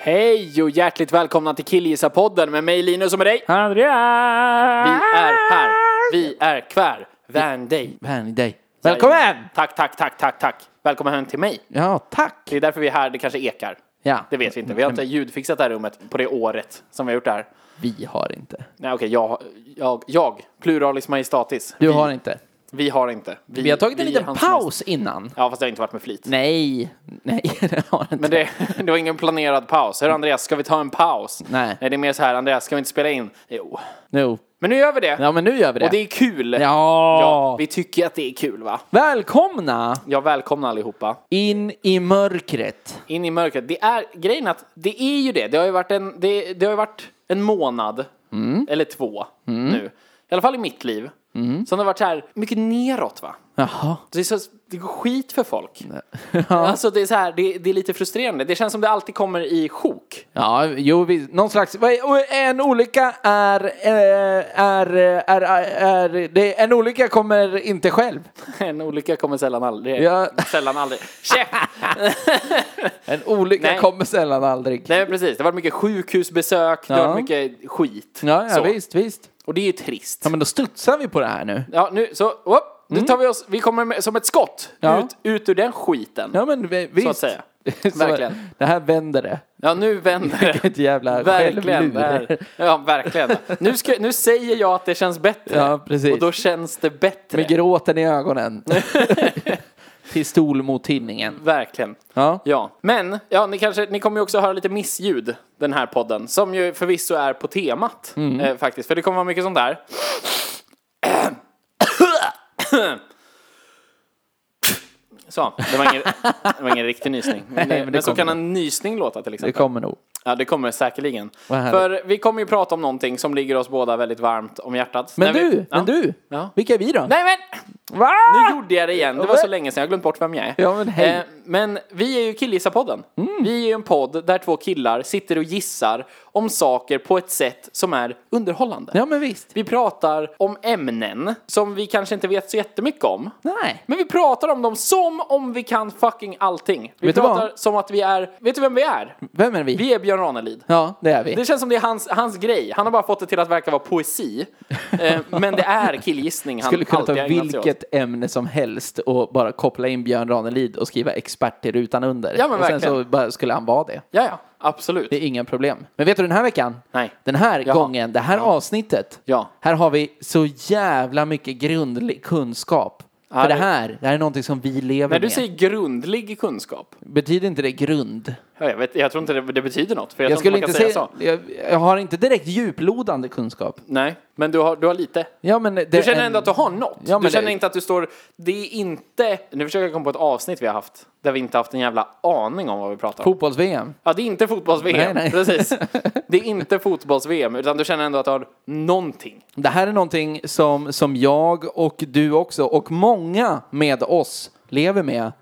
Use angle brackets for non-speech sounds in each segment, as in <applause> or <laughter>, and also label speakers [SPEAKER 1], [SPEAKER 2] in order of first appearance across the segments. [SPEAKER 1] Hej och hjärtligt välkomna till Killgissarpodden med mig Linus och med dig. Vi
[SPEAKER 2] Andreas!
[SPEAKER 1] är här, vi är kvar. Vän dig.
[SPEAKER 2] Vän i dig. Välkommen!
[SPEAKER 1] Tack, tack, tack, tack, tack. Välkommen hem till mig.
[SPEAKER 2] Ja, tack!
[SPEAKER 1] Det är därför vi är här, det kanske ekar.
[SPEAKER 2] Ja.
[SPEAKER 1] Det vet vi inte. Vi har inte ljudfixat det här rummet på det året som vi har gjort det här.
[SPEAKER 2] Vi har inte.
[SPEAKER 1] Nej okej, jag, jag, jag, pluralis majestatis.
[SPEAKER 2] Du
[SPEAKER 1] vi,
[SPEAKER 2] har inte.
[SPEAKER 1] Vi har inte.
[SPEAKER 2] Vi har tagit en
[SPEAKER 1] vi är
[SPEAKER 2] liten
[SPEAKER 1] hans
[SPEAKER 2] paus innan.
[SPEAKER 1] Ja fast det har inte varit med flit.
[SPEAKER 2] Nej, nej, <laughs> det har inte.
[SPEAKER 1] Men det, <laughs> det var ingen planerad paus. Hörru Andreas, ska vi ta en paus?
[SPEAKER 2] Nej.
[SPEAKER 1] Nej det är mer så här, Andreas, ska vi inte spela in? Jo.
[SPEAKER 2] No.
[SPEAKER 1] Men nu gör vi det.
[SPEAKER 2] Ja, men nu gör vi det.
[SPEAKER 1] Och det är kul.
[SPEAKER 2] Ja.
[SPEAKER 1] ja. Vi tycker att det är kul va?
[SPEAKER 2] Välkomna
[SPEAKER 1] Jag välkomnar allihopa.
[SPEAKER 2] in i mörkret.
[SPEAKER 1] In i mörkret. Det är grejen att det är ju det. Det har ju varit en, det, det har ju varit en månad
[SPEAKER 2] Mm.
[SPEAKER 1] eller två nu. I alla fall i mitt liv. Som det har varit så här mycket neråt va?
[SPEAKER 2] Jaha.
[SPEAKER 1] Det, är så, det går skit för folk.
[SPEAKER 2] <laughs>
[SPEAKER 1] Alltså det är så här, det, det är lite frustrerande. Det känns som det alltid kommer i sjok. <laughs>
[SPEAKER 2] Ja, jo, vi, någon slags... vad är- En olycka är, eh, är, är, är, är... det- En olycka kommer inte själv.
[SPEAKER 1] En olycka kommer sällan aldrig.
[SPEAKER 2] Ja.
[SPEAKER 1] <laughs> Sällan aldrig. Käft!
[SPEAKER 2] En olycka
[SPEAKER 1] Nej.
[SPEAKER 2] kommer sällan aldrig.
[SPEAKER 1] Nej men precis, det har varit mycket sjukhusbesök, det
[SPEAKER 2] Ja.
[SPEAKER 1] har varit mycket skit.
[SPEAKER 2] Ja, ja
[SPEAKER 1] Så.
[SPEAKER 2] visst, visst.
[SPEAKER 1] Och det är ju trist.
[SPEAKER 2] Ja, men då studsar vi på det här nu.
[SPEAKER 1] Ja, nu så, upp, nu tar vi oss, vi kommer med, som ett skott
[SPEAKER 2] Mm. Ja.
[SPEAKER 1] ut, ut ur den skiten.
[SPEAKER 2] Ja, men vi- visst.
[SPEAKER 1] Så att säga.
[SPEAKER 2] <laughs> Så
[SPEAKER 1] Verkligen.
[SPEAKER 2] Det här vänder det.
[SPEAKER 1] Ja, nu
[SPEAKER 2] <laughs>
[SPEAKER 1] vänder
[SPEAKER 2] Vilket jävla
[SPEAKER 1] Verkligen. det
[SPEAKER 2] självlur.
[SPEAKER 1] här. Ja, verkligen. Nu, ska, nu säger jag att det känns bättre.
[SPEAKER 2] Ja, precis.
[SPEAKER 1] Och då känns det bättre.
[SPEAKER 2] Med gråten i
[SPEAKER 1] <laughs>
[SPEAKER 2] ögonen. Pistol mot tinningen.
[SPEAKER 1] verkligen.
[SPEAKER 2] Ja.
[SPEAKER 1] Ja, men ja, ni, kanske, ni kommer ju också höra lite missljud den här podden. Som ju förvisso är på temat
[SPEAKER 2] Mm.
[SPEAKER 1] eh, faktiskt. För det kommer vara mycket sånt där. Så, det var ingen, det var ingen riktig nysning.
[SPEAKER 2] men
[SPEAKER 1] Men,
[SPEAKER 2] det
[SPEAKER 1] men så
[SPEAKER 2] kommer.
[SPEAKER 1] kan en nysning låta till
[SPEAKER 2] Det
[SPEAKER 1] exempel.
[SPEAKER 2] kommer nog.
[SPEAKER 1] Ja, det kommer säkerligen.
[SPEAKER 2] Vad härligt.
[SPEAKER 1] För vi kommer ju prata om någonting som ligger oss båda väldigt varmt om hjärtat.
[SPEAKER 2] Men
[SPEAKER 1] När vi-
[SPEAKER 2] du,
[SPEAKER 1] ja.
[SPEAKER 2] men du.
[SPEAKER 1] Ja.
[SPEAKER 2] Vilka är vi då?
[SPEAKER 1] Nej men!
[SPEAKER 2] Va?
[SPEAKER 1] Nu gjorde jag det igen, det var så länge sedan, jag har glömt bort vem jag är. Eh,
[SPEAKER 2] Ja, men hej. Mm.
[SPEAKER 1] men vi är ju Killgissarpodden. Vi är ju en podd där två killar sitter och gissar om saker på ett sätt som är underhållande.
[SPEAKER 2] Ja, men visst.
[SPEAKER 1] Vi pratar om ämnen som vi kanske inte vet så jättemycket om.
[SPEAKER 2] Nej.
[SPEAKER 1] Men vi pratar om dem som om vi kan fucking allting. Vi
[SPEAKER 2] Vet du
[SPEAKER 1] pratar
[SPEAKER 2] vad?
[SPEAKER 1] som att vi är, vet du vem vi är?
[SPEAKER 2] Vem är vi?
[SPEAKER 1] Vi är Björn Ranelid.
[SPEAKER 2] Ja, det är vi.
[SPEAKER 1] Det känns som det är hans, hans grej. Han har bara fått det till att verka vara poesi. Eh, men det är killgissning
[SPEAKER 2] <laughs>
[SPEAKER 1] han
[SPEAKER 2] Skulle kunna
[SPEAKER 1] alltid
[SPEAKER 2] ta
[SPEAKER 1] har ägnat sig åt.
[SPEAKER 2] vilket ämne som helst och bara koppla in Björn Ranelid och skriva expert i rutan under.
[SPEAKER 1] Ja, men
[SPEAKER 2] och sen så
[SPEAKER 1] verkligen.
[SPEAKER 2] bara skulle han vara det.
[SPEAKER 1] Ja, ja, absolut.
[SPEAKER 2] Det är inga problem. Men vet du den här veckan?
[SPEAKER 1] Nej.
[SPEAKER 2] Den här
[SPEAKER 1] Jaha.
[SPEAKER 2] gången, det här avsnittet.
[SPEAKER 1] Ja.
[SPEAKER 2] Här har vi så jävla mycket grundlig kunskap. För det
[SPEAKER 1] det-
[SPEAKER 2] här, det här är någonting som vi lever
[SPEAKER 1] När du
[SPEAKER 2] med.
[SPEAKER 1] säger grundlig kunskap,
[SPEAKER 2] Betyder inte det grund?
[SPEAKER 1] ja, jag, vet, jag tror inte det, det betyder något. För jag,
[SPEAKER 2] Jag,
[SPEAKER 1] tror
[SPEAKER 2] skulle
[SPEAKER 1] inte
[SPEAKER 2] inte
[SPEAKER 1] man kan
[SPEAKER 2] säga,
[SPEAKER 1] säga så.
[SPEAKER 2] jag, jag har inte direkt djuplodande kunskap.
[SPEAKER 1] Nej, men du har, du har lite.
[SPEAKER 2] Ja, men det
[SPEAKER 1] Du känner ändå att du har något.
[SPEAKER 2] Ja, men
[SPEAKER 1] du känner
[SPEAKER 2] det-
[SPEAKER 1] inte att du står... Det är inte... Nu försöker jag komma på ett avsnitt vi har haft där vi inte haft en jävla aning om vad vi pratar om.
[SPEAKER 2] Fotbolls-VM.
[SPEAKER 1] Ja, det är inte
[SPEAKER 2] Nej,
[SPEAKER 1] fotbolls-VM.
[SPEAKER 2] nej.
[SPEAKER 1] Precis.
[SPEAKER 2] <laughs>
[SPEAKER 1] Det är inte fotbolls-VM, utan du känner ändå att du har någonting.
[SPEAKER 2] Det här är någonting som, som jag och du också och många med oss lever med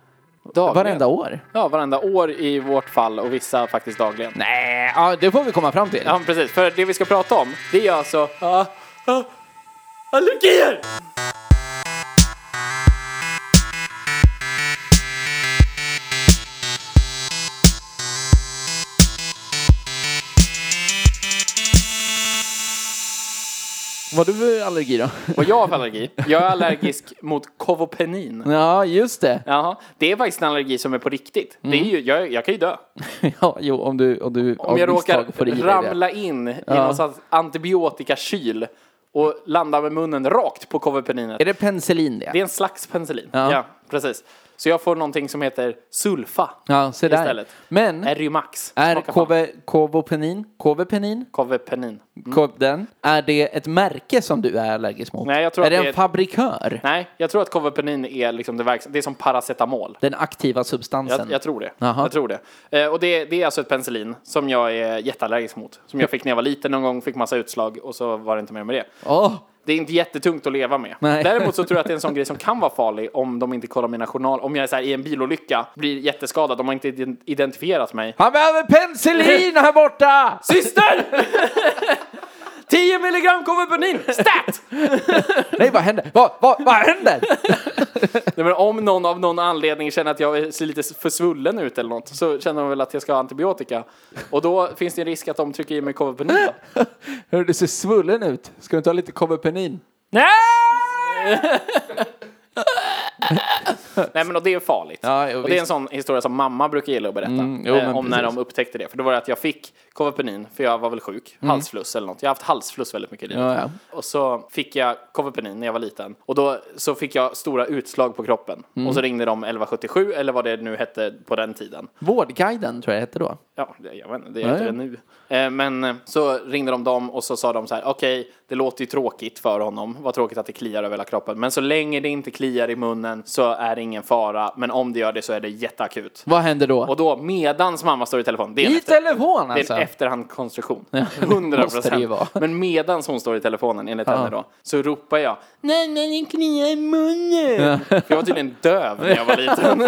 [SPEAKER 1] Dagligen.
[SPEAKER 2] varenda år.
[SPEAKER 1] Ja, varenda år i vårt fall och vissa faktiskt dagligen.
[SPEAKER 2] Nej, ja, det får vi komma fram till.
[SPEAKER 1] Ja, precis. För det vi ska prata om, det är alltså... Ja, ja, allergier!
[SPEAKER 2] Vad du för allergi då?
[SPEAKER 1] Vad jag har för allergi? Jag är allergisk mot kovopenin.
[SPEAKER 2] ja, just det. <laughs>
[SPEAKER 1] Jaha, det är faktiskt en allergi som är på riktigt. Det är ju, jag, jag kan ju dö.
[SPEAKER 2] Mm. Ja, jo, om du, om du
[SPEAKER 1] Om jag råkar
[SPEAKER 2] får i dig det.
[SPEAKER 1] ramla in i någon sorts antibiotikakyl och landa med munnen rakt på kovopeninet.
[SPEAKER 2] Är det penicillin det?
[SPEAKER 1] Det är en slags penicillin.
[SPEAKER 2] Ja.
[SPEAKER 1] Ja. precis. Så jag får någonting som heter sulfa.
[SPEAKER 2] Ja, se där.
[SPEAKER 1] Istället.
[SPEAKER 2] Men
[SPEAKER 1] Erymax.
[SPEAKER 2] är
[SPEAKER 1] Smaka fan.
[SPEAKER 2] KV, Kovopenin, Kovopenin,
[SPEAKER 1] Kovepenin.
[SPEAKER 2] Kov- den, är det ett märke som du är allergisk mot?
[SPEAKER 1] Nej, jag tror
[SPEAKER 2] är
[SPEAKER 1] att
[SPEAKER 2] det
[SPEAKER 1] det
[SPEAKER 2] en
[SPEAKER 1] är ett-
[SPEAKER 2] fabrikör?
[SPEAKER 1] Nej, jag tror att Kovepenin är liksom det verksamma. Det är som paracetamol.
[SPEAKER 2] Den aktiva substansen?
[SPEAKER 1] Jag, jag tror det.
[SPEAKER 2] Jaha.
[SPEAKER 1] Jag tror det. Eh, och det, det är alltså ett penicillin som jag är jätteallergisk mot. Som jag fick när jag var liten någon gång, fick massa utslag och så var det inte mer med det.
[SPEAKER 2] Åh,
[SPEAKER 1] Det är inte jättetungt att leva med.
[SPEAKER 2] Nej.
[SPEAKER 1] Däremot så tror jag att det
[SPEAKER 2] <laughs>
[SPEAKER 1] är en sån grej som kan vara farlig om de inte kollar mina journaler. Om jag är så här, i en bilolycka, blir jätteskadad, de har inte ident- identifierat mig.
[SPEAKER 2] han behöver penicillin här borta!
[SPEAKER 1] Syster! <laughs> 10 milligram Kovepenin! Stat!
[SPEAKER 2] Nej, vad händer? Vad, vad, vad händer?
[SPEAKER 1] Nej, men om någon av någon anledning känner att jag ser lite för svullen ut eller något så känner de väl att jag ska ha antibiotika. Och då finns det en risk att de trycker i mig Kovepenin.
[SPEAKER 2] Hör du ser svullen ut. Ska du inte ha lite Kovopenin?
[SPEAKER 1] Nej! Nej men och det är farligt.
[SPEAKER 2] Ja, jo,
[SPEAKER 1] och det är en
[SPEAKER 2] visst. Mm,
[SPEAKER 1] sån historia som mamma brukar gilla att berätta.
[SPEAKER 2] jo,
[SPEAKER 1] eh,
[SPEAKER 2] men
[SPEAKER 1] om när
[SPEAKER 2] precis.
[SPEAKER 1] de upptäckte det. För då var det att jag fick Kovapenin, för jag var väl sjuk. Halsfluss eller något. Jag har haft halsfluss väldigt mycket i livet.
[SPEAKER 2] Mm. Ja, ja.
[SPEAKER 1] Och så fick jag Kovapenin när jag var liten. Och då så fick jag stora utslag på kroppen.
[SPEAKER 2] Mm.
[SPEAKER 1] Och så ringde de 1177 eller vad det nu hette på den tiden.
[SPEAKER 2] Vårdguiden tror jag det hette då.
[SPEAKER 1] Ja, det, jag vet inte, det
[SPEAKER 2] Ja,
[SPEAKER 1] heter
[SPEAKER 2] ja.
[SPEAKER 1] det nu. Eh, men eh, så ringde de dem och så sa de så här, okej, det låter ju tråkigt för honom. Vad tråkigt att det kliar över hela kroppen. Men så länge det inte kliar i munnen så är det ingen fara. Men om det gör det så är det jätteakut.
[SPEAKER 2] Vad händer då?
[SPEAKER 1] Och då, medans mamma står i telefon, det är en
[SPEAKER 2] I
[SPEAKER 1] efter-
[SPEAKER 2] telefon
[SPEAKER 1] det är
[SPEAKER 2] alltså?
[SPEAKER 1] en efterhandskonstruktion. <laughs> 100
[SPEAKER 2] måste det ju vara.
[SPEAKER 1] procent. Men medan hon står i telefonen, enligt henne då, så ropar jag Nej, men det kliar i munnen. <laughs> För jag var tydligen döv när jag
[SPEAKER 2] <laughs>
[SPEAKER 1] var liten.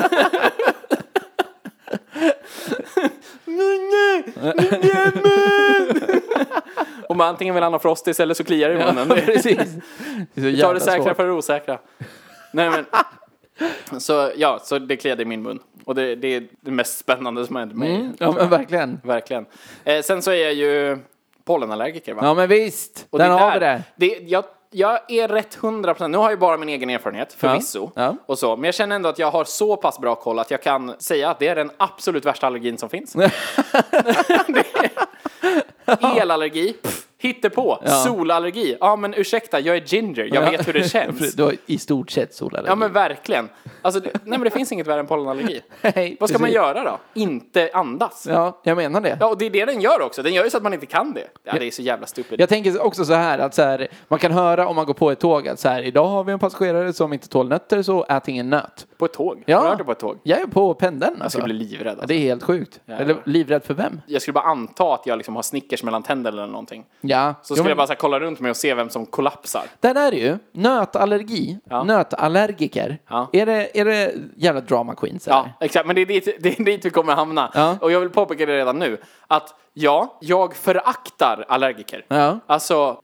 [SPEAKER 1] Munne, munne, <laughs> mun. Och man antingen vill han ha frostis eller så kliar det i munnen. Det-
[SPEAKER 2] <laughs>
[SPEAKER 1] <laughs>
[SPEAKER 2] Precis. Det är så
[SPEAKER 1] vi tar
[SPEAKER 2] jävla
[SPEAKER 1] det säkra
[SPEAKER 2] svårt.
[SPEAKER 1] för det osäkra. Nej, men.
[SPEAKER 2] <laughs>
[SPEAKER 1] Så ja, så det kliade i min mun. Och det, det är det mest spännande som har hänt mig.
[SPEAKER 2] Mm, ja men verkligen.
[SPEAKER 1] Verkligen. Eh, sen så är jag ju pollenallergiker va?
[SPEAKER 2] Ja men visst,
[SPEAKER 1] Och
[SPEAKER 2] där
[SPEAKER 1] det
[SPEAKER 2] har vi
[SPEAKER 1] där-
[SPEAKER 2] det.
[SPEAKER 1] det jag, jag är rätt hundra procent, nu har jag ju bara min egen erfarenhet förvisso.
[SPEAKER 2] Ja.
[SPEAKER 1] Och så, men jag känner ändå att jag har så pass bra koll att jag kan säga att det är den absolut värsta allergin
[SPEAKER 2] <laughs>
[SPEAKER 1] som finns. Elallergi, pff, hittepå.
[SPEAKER 2] Ja.
[SPEAKER 1] Solallergi, ja men ursäkta jag är ginger, jag vet
[SPEAKER 2] <laughs>
[SPEAKER 1] hur det känns.
[SPEAKER 2] Du har i stort sett solallergi.
[SPEAKER 1] Ja men verkligen. Alltså, det, nej men det finns inget värre än pollenallergi.
[SPEAKER 2] <laughs> Nej,
[SPEAKER 1] Vad ska man
[SPEAKER 2] precis.
[SPEAKER 1] göra då? Inte andas.
[SPEAKER 2] Ja, jag menar det.
[SPEAKER 1] Ja, och det är det den gör också. Den gör ju så att man inte kan det. Ja, det är så jävla stupid.
[SPEAKER 2] Jag tänker också så här att så här, man kan höra om man går på ett tåg att så här, idag har vi en passagerare som inte tål nötter så ät ingen nöt.
[SPEAKER 1] På ett tåg.
[SPEAKER 2] Ja.
[SPEAKER 1] Har du hört det på ett tåg?
[SPEAKER 2] Jag är på pendeln
[SPEAKER 1] Jag
[SPEAKER 2] alltså.
[SPEAKER 1] skulle bli livrädd.
[SPEAKER 2] Ja,
[SPEAKER 1] Alltså.
[SPEAKER 2] det är helt sjukt. Eller livrädd för vem?
[SPEAKER 1] Jag skulle bara anta att jag liksom har Snickers mellan tänderna eller någonting.
[SPEAKER 2] Ja.
[SPEAKER 1] Så
[SPEAKER 2] Jo,
[SPEAKER 1] skulle
[SPEAKER 2] men-
[SPEAKER 1] jag bara så här, kolla runt mig och se vem som kollapsar.
[SPEAKER 2] Där är det ju. Nötallergi.
[SPEAKER 1] Ja.
[SPEAKER 2] Nötallergiker.
[SPEAKER 1] Ja.
[SPEAKER 2] Är, det, är det jävla drama queens?
[SPEAKER 1] Ja,
[SPEAKER 2] eller?
[SPEAKER 1] exakt. Men det är dit, det är dit vi kommer hamna.
[SPEAKER 2] Ja.
[SPEAKER 1] Och jag vill påpeka det redan nu. Att ja, jag föraktar allergiker.
[SPEAKER 2] Ja.
[SPEAKER 1] Alltså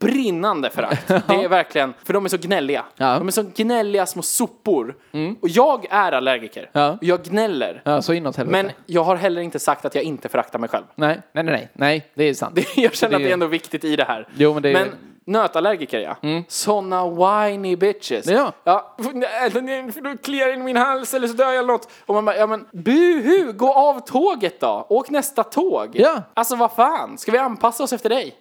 [SPEAKER 2] <laughs>
[SPEAKER 1] brinnande förakt. Det är verkligen, för de är så gnälliga.
[SPEAKER 2] Ja. Mm.
[SPEAKER 1] De är så gnälliga små sopor. Och jag är allergiker.
[SPEAKER 2] Ja.
[SPEAKER 1] Och jag gnäller.
[SPEAKER 2] ja så inåt helvete.
[SPEAKER 1] Men jag har heller inte sagt att jag inte föraktar mig själv. <laughs>
[SPEAKER 2] Nej, nej, nej, nej, nej, det är sant.
[SPEAKER 1] Jag känner att
[SPEAKER 2] Det-
[SPEAKER 1] det är ändå viktigt i det här.
[SPEAKER 2] Jo, men det är- Mm.
[SPEAKER 1] nötallergiker ja. Såna whiny bitches.
[SPEAKER 2] Ja.
[SPEAKER 1] ja <laughs> eller nej, för då kliar in min hals eller så dör jag eller något. Och man bara, ja men buhu, gå av tåget då. Åk nästa tåg.
[SPEAKER 2] Ja.
[SPEAKER 1] Alltså vad fan, ska vi anpassa oss efter dig?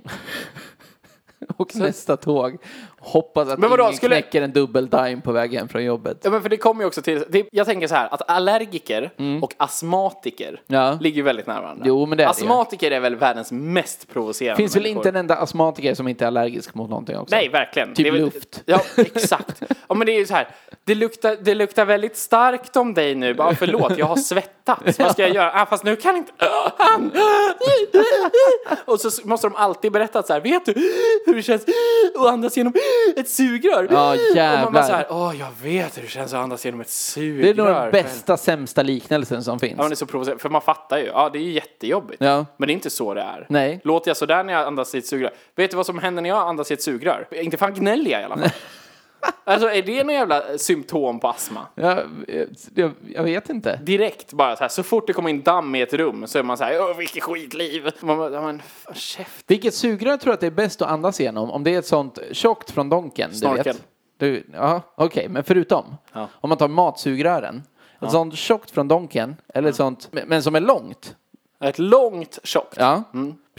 [SPEAKER 2] Och nästa tåg. Hoppas att
[SPEAKER 1] Men vadå,
[SPEAKER 2] ingen
[SPEAKER 1] skulle-
[SPEAKER 2] knäcker en dubbel dime på väg hem från jobbet.
[SPEAKER 1] Ja men för det kommer ju också till, det, jag tänker så här att allergiker och astmatiker
[SPEAKER 2] Mm. Ja.
[SPEAKER 1] ligger ju väldigt nära varandra.
[SPEAKER 2] Jo, men det är det ju.
[SPEAKER 1] astmatiker är väl världens mest provocerande
[SPEAKER 2] Finns väl
[SPEAKER 1] människor.
[SPEAKER 2] inte en enda astmatiker som inte är allergisk mot någonting också?
[SPEAKER 1] Nej, verkligen.
[SPEAKER 2] Typ
[SPEAKER 1] Det är väl-
[SPEAKER 2] luft.
[SPEAKER 1] Ja, exakt. Ja, men det är ju så här. Det luktar, det luktar väldigt starkt om dig nu. Bara, förlåt, jag har svettats. Vad ska jag göra? Ah, fast nu kan inte... Ah, han. Och så måste de alltid berätta så här. Vet du hur det känns att andas genom ett sugrör?
[SPEAKER 2] Ja,
[SPEAKER 1] Och man bara
[SPEAKER 2] jävlar.
[SPEAKER 1] så här. Åh, jag vet hur det känns att andas genom ett sugrör.
[SPEAKER 2] Det är nog den bästa, sämsta liknelsen som finns.
[SPEAKER 1] Ja, men det är så provocerande. För man fattar ju. Ja, det är ju jättejobbigt.
[SPEAKER 2] Ja.
[SPEAKER 1] Men det är inte så det är.
[SPEAKER 2] Nej.
[SPEAKER 1] Låter jag sådär när jag andas i ett sugrör? Vet du vad som händer när jag andas i ett sugrör? Inte fan gnäller jag i alla fall. alltså, är det någon jävla eh, symptom på astma?
[SPEAKER 2] Jag, jag, jag vet inte.
[SPEAKER 1] Direkt bara så här, så fort det kommer in damm i ett rum så är man så här, åh vilket skitliv. Man bara, ja, men fan, käft.
[SPEAKER 2] Vilket sugrör tror du att det är bäst att andas igenom? Om det är ett sånt tjockt från Donken, du
[SPEAKER 1] Snorkel.
[SPEAKER 2] vet? Du, ja, okej, men förutom.
[SPEAKER 1] Ja.
[SPEAKER 2] Om man tar matsugrören. Ett sånt tjockt från Donken, eller ett sånt, men som är långt.
[SPEAKER 1] Ett långt tjockt.
[SPEAKER 2] Ja,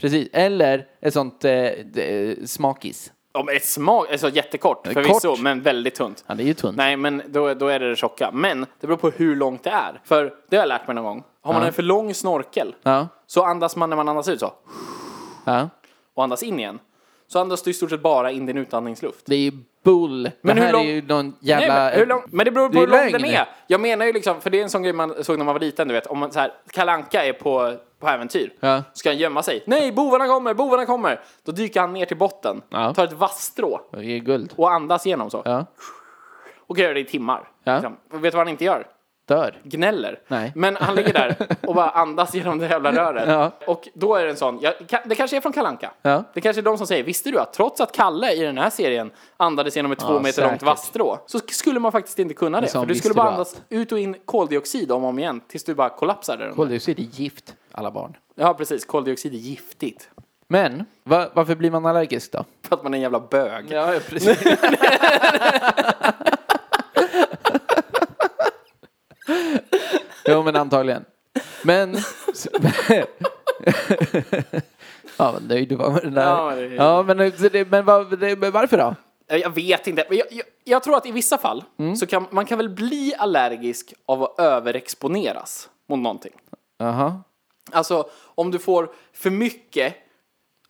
[SPEAKER 2] precis. Eller ett sånt eh, d- eh, smakis.
[SPEAKER 1] Om ett smak, alltså jättekort
[SPEAKER 2] är
[SPEAKER 1] förvisso,
[SPEAKER 2] kort.
[SPEAKER 1] men väldigt tunt.
[SPEAKER 2] Han är ju tunn.
[SPEAKER 1] Nej, men då, då är det det tjocka. Men det beror på hur långt det är. För det har jag lärt mig någon gång. Har man en för lång snorkel
[SPEAKER 2] Ja.
[SPEAKER 1] så andas man när man andas ut så.
[SPEAKER 2] ja.
[SPEAKER 1] Och andas in igen. Så andas du i stort sett bara in din utandningsluft.
[SPEAKER 2] Det är ju bull.
[SPEAKER 1] Men
[SPEAKER 2] det
[SPEAKER 1] hur
[SPEAKER 2] här
[SPEAKER 1] lång-
[SPEAKER 2] är ju någon jävla...
[SPEAKER 1] Nej, men, hur lång, men det beror på
[SPEAKER 2] Det är
[SPEAKER 1] hur lång
[SPEAKER 2] lögn.
[SPEAKER 1] den är. Jag menar ju liksom, för det är en sån grej man såg när man var liten, du vet. Om man så här, Kalanka är på, på äventyr.
[SPEAKER 2] Ja.
[SPEAKER 1] Ska han gömma sig? Nej, bovarna kommer, bovarna kommer! Då dyker han ner till botten,
[SPEAKER 2] Ja.
[SPEAKER 1] tar ett vasstrå
[SPEAKER 2] Det är guld.
[SPEAKER 1] och andas igenom så.
[SPEAKER 2] Ja.
[SPEAKER 1] Och gör det i timmar.
[SPEAKER 2] Ja.
[SPEAKER 1] Liksom. Och Vet du vad han inte gör?
[SPEAKER 2] Dör.
[SPEAKER 1] gnäller.
[SPEAKER 2] Nej.
[SPEAKER 1] Men han ligger där och bara andas genom det jävla röret.
[SPEAKER 2] Ja.
[SPEAKER 1] Och då är det en sån, jag, ka- det kanske är från Kalanka.
[SPEAKER 2] Ja.
[SPEAKER 1] Det kanske är de som säger, visste du att trots att Kalle i den här serien andades genom ett två meter långt
[SPEAKER 2] säkert.
[SPEAKER 1] vasstrå så sk- skulle man faktiskt inte kunna det.
[SPEAKER 2] sa
[SPEAKER 1] För
[SPEAKER 2] han,
[SPEAKER 1] du
[SPEAKER 2] "Visste
[SPEAKER 1] skulle bara
[SPEAKER 2] du
[SPEAKER 1] andas ut och in koldioxid om och om igen tills du bara kollapsade. Kol-
[SPEAKER 2] Koldioxid är gift, alla barn.
[SPEAKER 1] ja, precis. Koldioxid är giftigt.
[SPEAKER 2] Men, va, varför blir man allergisk då?
[SPEAKER 1] För att man är en jävla bög.
[SPEAKER 2] Ja, precis. <laughs> jo, men antagligen. Men... <laughs> ja, vad nöjd du var med den där.
[SPEAKER 1] Ja, men det-
[SPEAKER 2] Ja, men, så det, men, vad- det, men varför då?
[SPEAKER 1] Eh, Jag vet inte. Men jag, jag, jag tror att i vissa fall
[SPEAKER 2] Mm.
[SPEAKER 1] så kan man kan väl bli allergisk av att överexponeras mot någonting.
[SPEAKER 2] Jaha.
[SPEAKER 1] Alltså om du får för mycket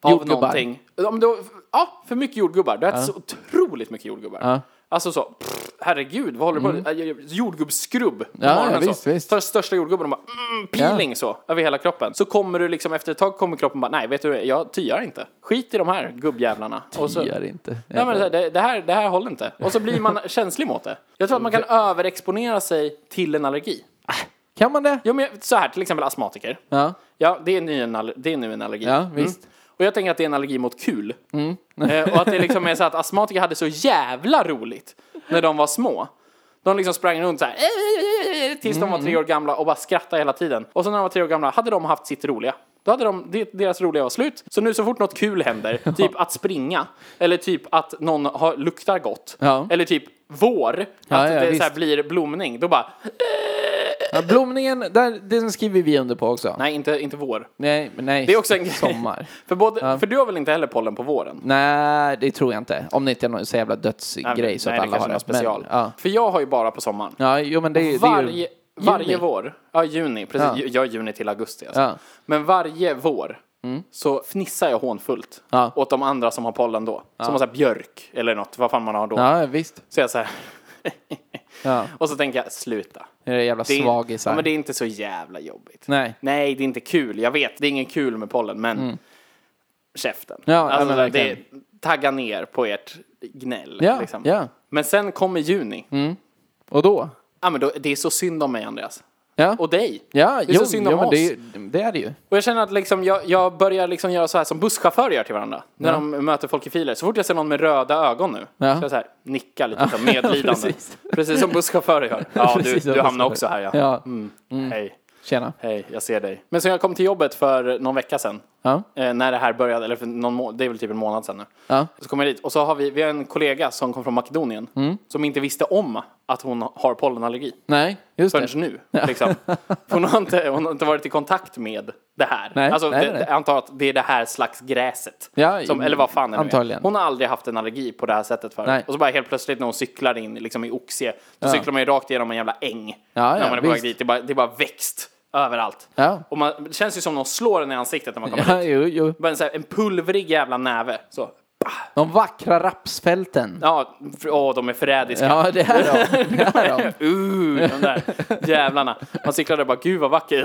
[SPEAKER 1] av
[SPEAKER 2] Jordgubbar.
[SPEAKER 1] någonting. Om du, ja, för mycket jordgubbar. Du har ätit så otroligt mycket jordgubbar.
[SPEAKER 2] Ja. Mm.
[SPEAKER 1] Alltså så, pff, herregud, vad håller du på med? Äh, Jordgubbsskrubb. på
[SPEAKER 2] Ja,
[SPEAKER 1] morgonen
[SPEAKER 2] ja, visst,
[SPEAKER 1] så.
[SPEAKER 2] visst.
[SPEAKER 1] Tar den största jordgubben och bara mm, peeling så, över hela kroppen. Så kommer du liksom, efter ett tag kommer kroppen bara, nej vet du jag tyar inte. Skit i de här gubbjävlarna. Och så,
[SPEAKER 2] Gör inte.
[SPEAKER 1] Nej, men det, det, här, det här håller inte. Och så
[SPEAKER 2] <laughs>
[SPEAKER 1] blir man känslig mot det. Jag tror att man kan överexponera sig till en allergi.
[SPEAKER 2] Kan man det?
[SPEAKER 1] Jo, men så här, till exempel astmatiker.
[SPEAKER 2] Ja.
[SPEAKER 1] Ja, det är, ny en aller- det är nu en allergi.
[SPEAKER 2] Ja, visst. Mm.
[SPEAKER 1] Mm. Och jag tänker att det är en allergi mot kul. Eh, och att det liksom är så att astmatiker hade så jävla roligt när de var små. De liksom sprang runt så här "Eh, tills de var
[SPEAKER 2] Mm.
[SPEAKER 1] tre år gamla och bara skrattade hela tiden. Och så när de var tre år gamla hade de haft sitt roliga. Då hade de, det- deras roliga var slut. Så nu så fort något kul
[SPEAKER 2] <laughs>
[SPEAKER 1] händer, typ att springa, eller typ att någon har, luktar gott,
[SPEAKER 2] Ja.
[SPEAKER 1] eller typ vår, att
[SPEAKER 2] Ja, ja,
[SPEAKER 1] det så här
[SPEAKER 2] visst.
[SPEAKER 1] blir blomning, då bara,
[SPEAKER 2] Ja, blomningen, där, den skriver vi under på också.
[SPEAKER 1] nej inte, inte vår.
[SPEAKER 2] Nej, men nej.
[SPEAKER 1] Det är också en grej.
[SPEAKER 2] Sommar.
[SPEAKER 1] För, både, för du har väl inte heller pollen på våren?
[SPEAKER 2] Nej, det tror jag inte. Om det inte är någon så jävla dödsgrej
[SPEAKER 1] Nej,
[SPEAKER 2] så
[SPEAKER 1] nej,
[SPEAKER 2] att
[SPEAKER 1] det
[SPEAKER 2] alla har
[SPEAKER 1] kanske är
[SPEAKER 2] det.
[SPEAKER 1] något special.
[SPEAKER 2] Men, ja.
[SPEAKER 1] För jag har ju bara på sommaren.
[SPEAKER 2] ja, jo men det, är- det är ju...
[SPEAKER 1] varje, varje vår, ja juni, precis,
[SPEAKER 2] Ja.
[SPEAKER 1] jag är juni till augusti alltså.
[SPEAKER 2] Ja. Mm.
[SPEAKER 1] Men varje vår så fnissar jag hånfullt
[SPEAKER 2] Ja.
[SPEAKER 1] åt de andra som har pollen då. Som har så här björk eller något, vad fan man har då.
[SPEAKER 2] Ja, visst.
[SPEAKER 1] Så jag så här, <laughs>
[SPEAKER 2] Ja.
[SPEAKER 1] och så tänker jag sluta.
[SPEAKER 2] Det är jävla
[SPEAKER 1] Det är,
[SPEAKER 2] svagisar.
[SPEAKER 1] ja, men det är inte så jävla jobbigt.
[SPEAKER 2] Nej. Mm.
[SPEAKER 1] Nej, det är inte kul. Jag vet, det är ingen kul med pollen, men käften.
[SPEAKER 2] Ja, ja,
[SPEAKER 1] alltså,
[SPEAKER 2] men
[SPEAKER 1] det,
[SPEAKER 2] verkligen.
[SPEAKER 1] tagga ner på ert gnäll.
[SPEAKER 2] Ja,
[SPEAKER 1] liksom.
[SPEAKER 2] ja. Mm.
[SPEAKER 1] Men sen kommer juni.
[SPEAKER 2] Och då?
[SPEAKER 1] Ja, men då, det är så synd om mig, Andreas.
[SPEAKER 2] Ja,
[SPEAKER 1] Och dig.
[SPEAKER 2] ja
[SPEAKER 1] det är så synd om
[SPEAKER 2] jo men
[SPEAKER 1] oss.
[SPEAKER 2] det, är ju- det är det ju.
[SPEAKER 1] Och jag känner att liksom, jag, jag börjar liksom göra så här som busschaufförer gör till varandra. När de möter folk i filer. Så fort jag ser någon med röda ögon nu.
[SPEAKER 2] Ja.
[SPEAKER 1] Så jag så här, nickar lite
[SPEAKER 2] <laughs>
[SPEAKER 1] så här medlidande. precis.
[SPEAKER 2] precis.
[SPEAKER 1] som busschaufförer
[SPEAKER 2] <laughs>
[SPEAKER 1] gör. Ja, du,
[SPEAKER 2] Precis som
[SPEAKER 1] du hamnar
[SPEAKER 2] busschaufförer.
[SPEAKER 1] också här ja. Mm.
[SPEAKER 2] Ja, Mm.
[SPEAKER 1] Hej,
[SPEAKER 2] tjena.
[SPEAKER 1] hej, jag ser dig. Men sen jag kom till jobbet för någon vecka sedan.
[SPEAKER 2] Ja.
[SPEAKER 1] Eh, när det här började, eller för någon må- det är väl typ en månad sedan nu.
[SPEAKER 2] Ja.
[SPEAKER 1] Så kommer jag dit och så har vi, vi har en kollega som kom från Makedonien. Som inte visste om att hon har pollenallergi.
[SPEAKER 2] Nej, just
[SPEAKER 1] Förrän
[SPEAKER 2] det.
[SPEAKER 1] nu. Liksom. För Hon, har inte, hon har inte varit i kontakt med det här.
[SPEAKER 2] Nej,
[SPEAKER 1] alltså,
[SPEAKER 2] nej,
[SPEAKER 1] det,
[SPEAKER 2] nej.
[SPEAKER 1] Jag antar att det är det här slags gräset.
[SPEAKER 2] Ja,
[SPEAKER 1] som, eller vad fan det nu
[SPEAKER 2] antagligen.
[SPEAKER 1] är. Hon har aldrig haft en allergi på det här sättet förut.
[SPEAKER 2] Nej.
[SPEAKER 1] Och så bara helt plötsligt när hon cyklar in liksom, i Oxie, då cyklar man ju rakt igenom en jävla äng.
[SPEAKER 2] Ja,
[SPEAKER 1] när
[SPEAKER 2] ja,
[SPEAKER 1] man är på väg
[SPEAKER 2] visst.
[SPEAKER 1] dit. Det är bara, det är bara växt överallt.
[SPEAKER 2] Ja.
[SPEAKER 1] Och man, det känns ju som någon slår en i ansiktet när man kommer dit.
[SPEAKER 2] Ja, jo, jo.
[SPEAKER 1] Bara en, så här, en pulvrig jävla näve. Så.
[SPEAKER 2] De vackra rapsfälten.
[SPEAKER 1] Ja, för, åh, de är förrädiska.
[SPEAKER 2] Ja, det är
[SPEAKER 1] <laughs>
[SPEAKER 2] de. Det är de.
[SPEAKER 1] Uh, de där jävlarna. Man cyklade och bara, gud vad vacker.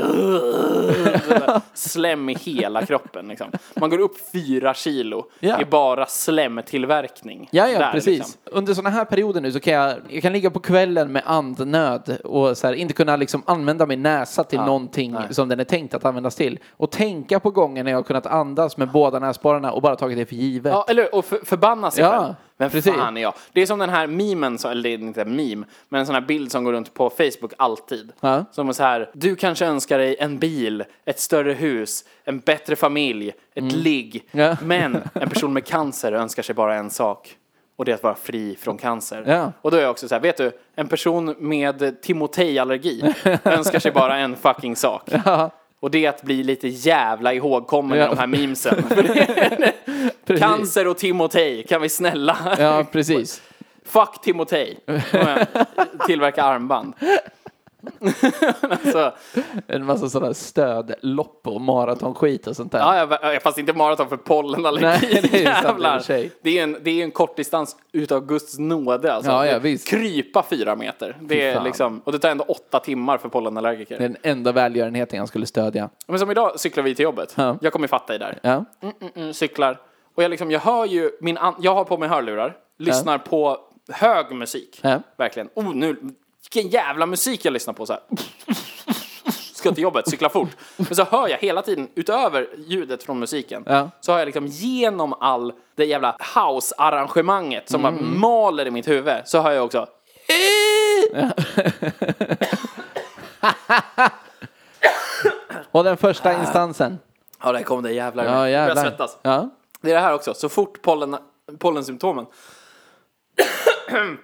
[SPEAKER 1] Uh, slem i hela kroppen liksom. Man går upp fyra kilo
[SPEAKER 2] Ja.
[SPEAKER 1] i bara slemtillverkning.
[SPEAKER 2] Ja, ja,
[SPEAKER 1] Där,
[SPEAKER 2] precis.
[SPEAKER 1] liksom.
[SPEAKER 2] Under sådana här perioder nu så kan jag, jag kan ligga på kvällen med andnöd och så här, inte kunna liksom använda min näsa till någonting som den är tänkt att användas till. Och tänka på gången när jag har kunnat andas med båda näsborrarna och bara tagit det för givet. <laughs>
[SPEAKER 1] Ja, eller hur? Och för, förbanna sig
[SPEAKER 2] Ja,
[SPEAKER 1] själv. Men
[SPEAKER 2] precis.
[SPEAKER 1] fan är jag? Det är som den här memen, som, eller det är inte en meme, men en sån här bild som går runt på Facebook alltid.
[SPEAKER 2] Ja.
[SPEAKER 1] Som är så här, du kanske önskar dig en bil, ett större hus, en bättre familj, ett ligg.
[SPEAKER 2] Mm. Ja.
[SPEAKER 1] Men
[SPEAKER 2] <laughs>
[SPEAKER 1] en person med cancer önskar sig bara en sak. Och det är att vara fri från cancer.
[SPEAKER 2] Ja.
[SPEAKER 1] Och då är jag också så här, vet du, en person
[SPEAKER 2] <laughs>
[SPEAKER 1] med Timotej-allergi önskar sig bara en fucking sak. Och det är att bli lite jävla ihågkommen
[SPEAKER 2] Ja. <laughs>
[SPEAKER 1] i de här memesen. För det är-
[SPEAKER 2] Precis.
[SPEAKER 1] Cancer och Timotej, kan vi snälla?
[SPEAKER 2] Ja, precis.
[SPEAKER 1] <laughs> Fuck Timotej. Tillverka armband. <laughs> alltså,
[SPEAKER 2] En massa sådana här stödlopp och maratonskit och sånt där.
[SPEAKER 1] ja, ja, ja, fast inte maraton för pollenallergi.
[SPEAKER 2] Nej, det är ju sant i och för
[SPEAKER 1] jävlar.
[SPEAKER 2] sig.
[SPEAKER 1] det är ju en, det är ju en kortdistans utav Guds nåde. Alltså.
[SPEAKER 2] Ja, ja, visst.
[SPEAKER 1] Krypa fyra meter. Det är
[SPEAKER 2] fan.
[SPEAKER 1] liksom, och det tar ändå åtta timmar för pollenallergiker.
[SPEAKER 2] Det är den enda välgörenheten jag skulle stödja.
[SPEAKER 1] Men som idag cyklar vi till jobbet.
[SPEAKER 2] Ja.
[SPEAKER 1] Jag kommer fatta dig där.
[SPEAKER 2] Ja.
[SPEAKER 1] Mm, cyklar. Och jag, liksom, jag hör ju, min an- jag har på mig hörlurar, lyssnar på hög musik.
[SPEAKER 2] Ja.
[SPEAKER 1] Verkligen. Oh, nu, vilken jävla musik jag lyssnar på så här. Ska till jobbet, cykla fort. Men så hör jag hela tiden, utöver ljudet från musiken,
[SPEAKER 2] Ja.
[SPEAKER 1] så hör jag liksom genom all det jävla house-arrangemanget som bara
[SPEAKER 2] Mm.
[SPEAKER 1] maler i mitt huvud, så hör jag också
[SPEAKER 2] Och den första instansen.
[SPEAKER 1] Ah. Ja, där kom det jävlar.
[SPEAKER 2] Ja,
[SPEAKER 1] Jag börjar
[SPEAKER 2] jävlar.
[SPEAKER 1] svettas.
[SPEAKER 2] Ja.
[SPEAKER 1] Det är det här också, så fort pollen, pollensymptomen <clears throat>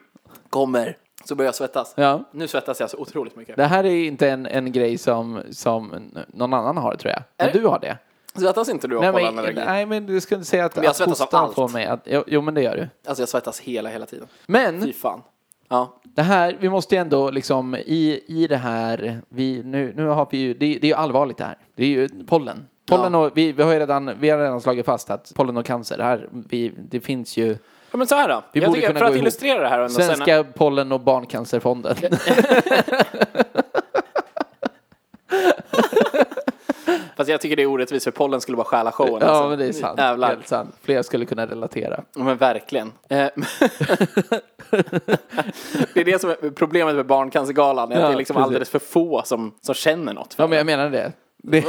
[SPEAKER 1] kommer så börjar jag svettas.
[SPEAKER 2] Ja.
[SPEAKER 1] Nu svettas jag så otroligt mycket.
[SPEAKER 2] Det här är ju inte en, en grej som, som någon annan har tror jag. Men du har det.
[SPEAKER 1] Svettas inte du av
[SPEAKER 2] Nej men,
[SPEAKER 1] pollenallergi?
[SPEAKER 2] nej men du skulle inte säga att,
[SPEAKER 1] jag
[SPEAKER 2] att
[SPEAKER 1] svettas av
[SPEAKER 2] hostan
[SPEAKER 1] allt.
[SPEAKER 2] får mig att... Jo, jo men det gör du.
[SPEAKER 1] Alltså jag svettas hela, hela tiden.
[SPEAKER 2] Men
[SPEAKER 1] Fy fan. Ja.
[SPEAKER 2] det här, vi måste ju ändå liksom i, i det här, vi, nu, nu har vi ju, det, det är ju allvarligt det här. Det är ju pollen. Pollen
[SPEAKER 1] Ja.
[SPEAKER 2] och, vi, vi har ju redan, vi har redan slagit fast att pollen och cancer, det här, vi, det finns ju
[SPEAKER 1] ja men så här då.
[SPEAKER 2] Vi
[SPEAKER 1] jag
[SPEAKER 2] borde
[SPEAKER 1] tycker,
[SPEAKER 2] kunna
[SPEAKER 1] för
[SPEAKER 2] gå
[SPEAKER 1] att
[SPEAKER 2] ihop.
[SPEAKER 1] illustrera det här ändå sen.
[SPEAKER 2] Svenska pollen och barncancerfonden.
[SPEAKER 1] Fast jag tycker det är orättvist för pollen skulle bara stjäla showen.
[SPEAKER 2] ja
[SPEAKER 1] alltså.
[SPEAKER 2] men det är sant.
[SPEAKER 1] Jävlar.
[SPEAKER 2] Helt sant. Fler skulle kunna relatera.
[SPEAKER 1] Ja, Men verkligen. Eh, <laughs> det är det som är problemet med Barncancergalan. är Att
[SPEAKER 2] Ja,
[SPEAKER 1] det är liksom
[SPEAKER 2] precis.
[SPEAKER 1] alldeles för få som, som känner något.
[SPEAKER 2] Ja men jag menar det. Det,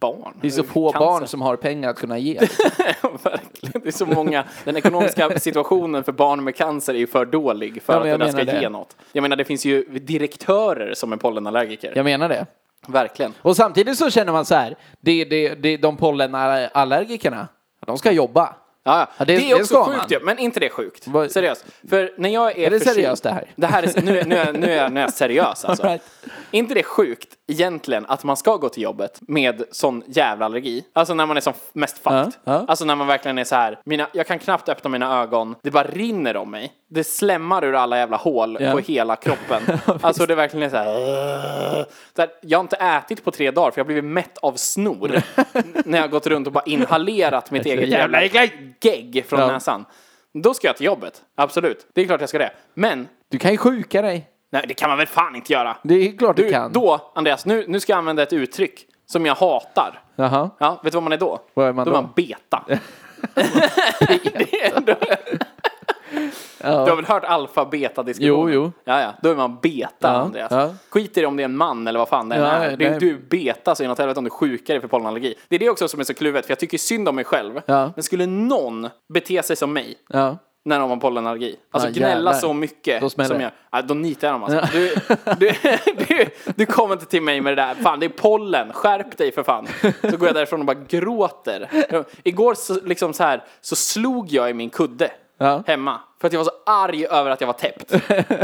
[SPEAKER 1] barn.
[SPEAKER 2] det är så få barn som har pengar att kunna ge.
[SPEAKER 1] <laughs> Verkligen. Det är så många.
[SPEAKER 2] <laughs>
[SPEAKER 1] Den ekonomiska situationen för barn med cancer är ju för dålig för
[SPEAKER 2] Ja,
[SPEAKER 1] att
[SPEAKER 2] men
[SPEAKER 1] det
[SPEAKER 2] jag
[SPEAKER 1] där ska
[SPEAKER 2] menar det.
[SPEAKER 1] ge något. Jag menar, det finns ju direktörer som är pollenallergiker.
[SPEAKER 2] Jag menar det.
[SPEAKER 1] Verkligen.
[SPEAKER 2] Och samtidigt så känner man så här, det, det, det, de pollenallergikerna, de ska jobba.
[SPEAKER 1] Ja, ja.
[SPEAKER 2] Ja,
[SPEAKER 1] Det,
[SPEAKER 2] det-
[SPEAKER 1] är
[SPEAKER 2] det
[SPEAKER 1] också
[SPEAKER 2] ska
[SPEAKER 1] sjukt
[SPEAKER 2] man.
[SPEAKER 1] ju, men inte det är sjukt.
[SPEAKER 2] Vad-
[SPEAKER 1] Seriöst. För när jag är,
[SPEAKER 2] Är det
[SPEAKER 1] förkyld-
[SPEAKER 2] seriöst det här?
[SPEAKER 1] Det här är, nu, är- nu, är, nu, är, nu är
[SPEAKER 2] <laughs>
[SPEAKER 1] jag seriös alltså.
[SPEAKER 2] All right.
[SPEAKER 1] Inte det är sjukt egentligen att man ska gå till jobbet med sån jävla allergi. Alltså när man är som f- mest fucked.
[SPEAKER 2] Ja, ja.
[SPEAKER 1] Alltså när man verkligen är så här, mina, jag kan knappt öppna mina ögon, det bara rinner om mig. Det slämmar ur alla jävla hål
[SPEAKER 2] Ja.
[SPEAKER 1] på
[SPEAKER 2] <laughs>
[SPEAKER 1] hela kroppen. alltså det är verkligen är så här, så här. Jag har inte ätit på tre dagar för jag har blivit mätt av
[SPEAKER 2] <laughs>
[SPEAKER 1] snor. N- när jag har gått runt och bara inhalerat mitt eget jävla äckliga gegg från
[SPEAKER 2] Ja.
[SPEAKER 1] näsan. Då ska jag till jobbet, absolut. Det är klart jag ska det. Men,
[SPEAKER 2] Du kan ju sjuka dig.
[SPEAKER 1] nej det kan man väl fan inte göra.
[SPEAKER 2] Det är klart du, kan.
[SPEAKER 1] Då, Andreas, nu, nu ska jag använda ett uttryck som jag hatar.
[SPEAKER 2] Jaha.
[SPEAKER 1] Ja, vet du vad man är då?
[SPEAKER 2] Vad är man
[SPEAKER 1] är
[SPEAKER 2] då?
[SPEAKER 1] man
[SPEAKER 2] <laughs>
[SPEAKER 1] beta. Det är <laughs> ändå- Du har väl hört alfa beta diskussionen?
[SPEAKER 2] Jo, jo.
[SPEAKER 1] Ja, ja. Då är man beta, Andreas.
[SPEAKER 2] ja.
[SPEAKER 1] Skit i det om det är en man eller vad fan det än
[SPEAKER 2] Ja,
[SPEAKER 1] är. Det är
[SPEAKER 2] nej.
[SPEAKER 1] du är beta så inåt helvete om du är sjukare för pollenallergi. Det är det också som är så kluvet, för jag tycker synd om mig själv.
[SPEAKER 2] Ja.
[SPEAKER 1] Men skulle någon bete sig som mig,
[SPEAKER 2] Ja.
[SPEAKER 1] när de har pollenallergi. Alltså
[SPEAKER 2] Ja,
[SPEAKER 1] gnälla
[SPEAKER 2] Ah, jävlar.
[SPEAKER 1] så mycket.
[SPEAKER 2] Då smäller
[SPEAKER 1] som
[SPEAKER 2] det.
[SPEAKER 1] jag, ja, då nitar jag dem alltså. Du, du, <laughs> du, du kommer inte till mig med det där. Fan, det är pollen. Skärp dig för fan. Så går jag därifrån och bara gråter. Igår så, liksom så, här, så slog jag i min kudde.
[SPEAKER 2] Ja.
[SPEAKER 1] Hemma. För att jag var så arg över att jag var täppt.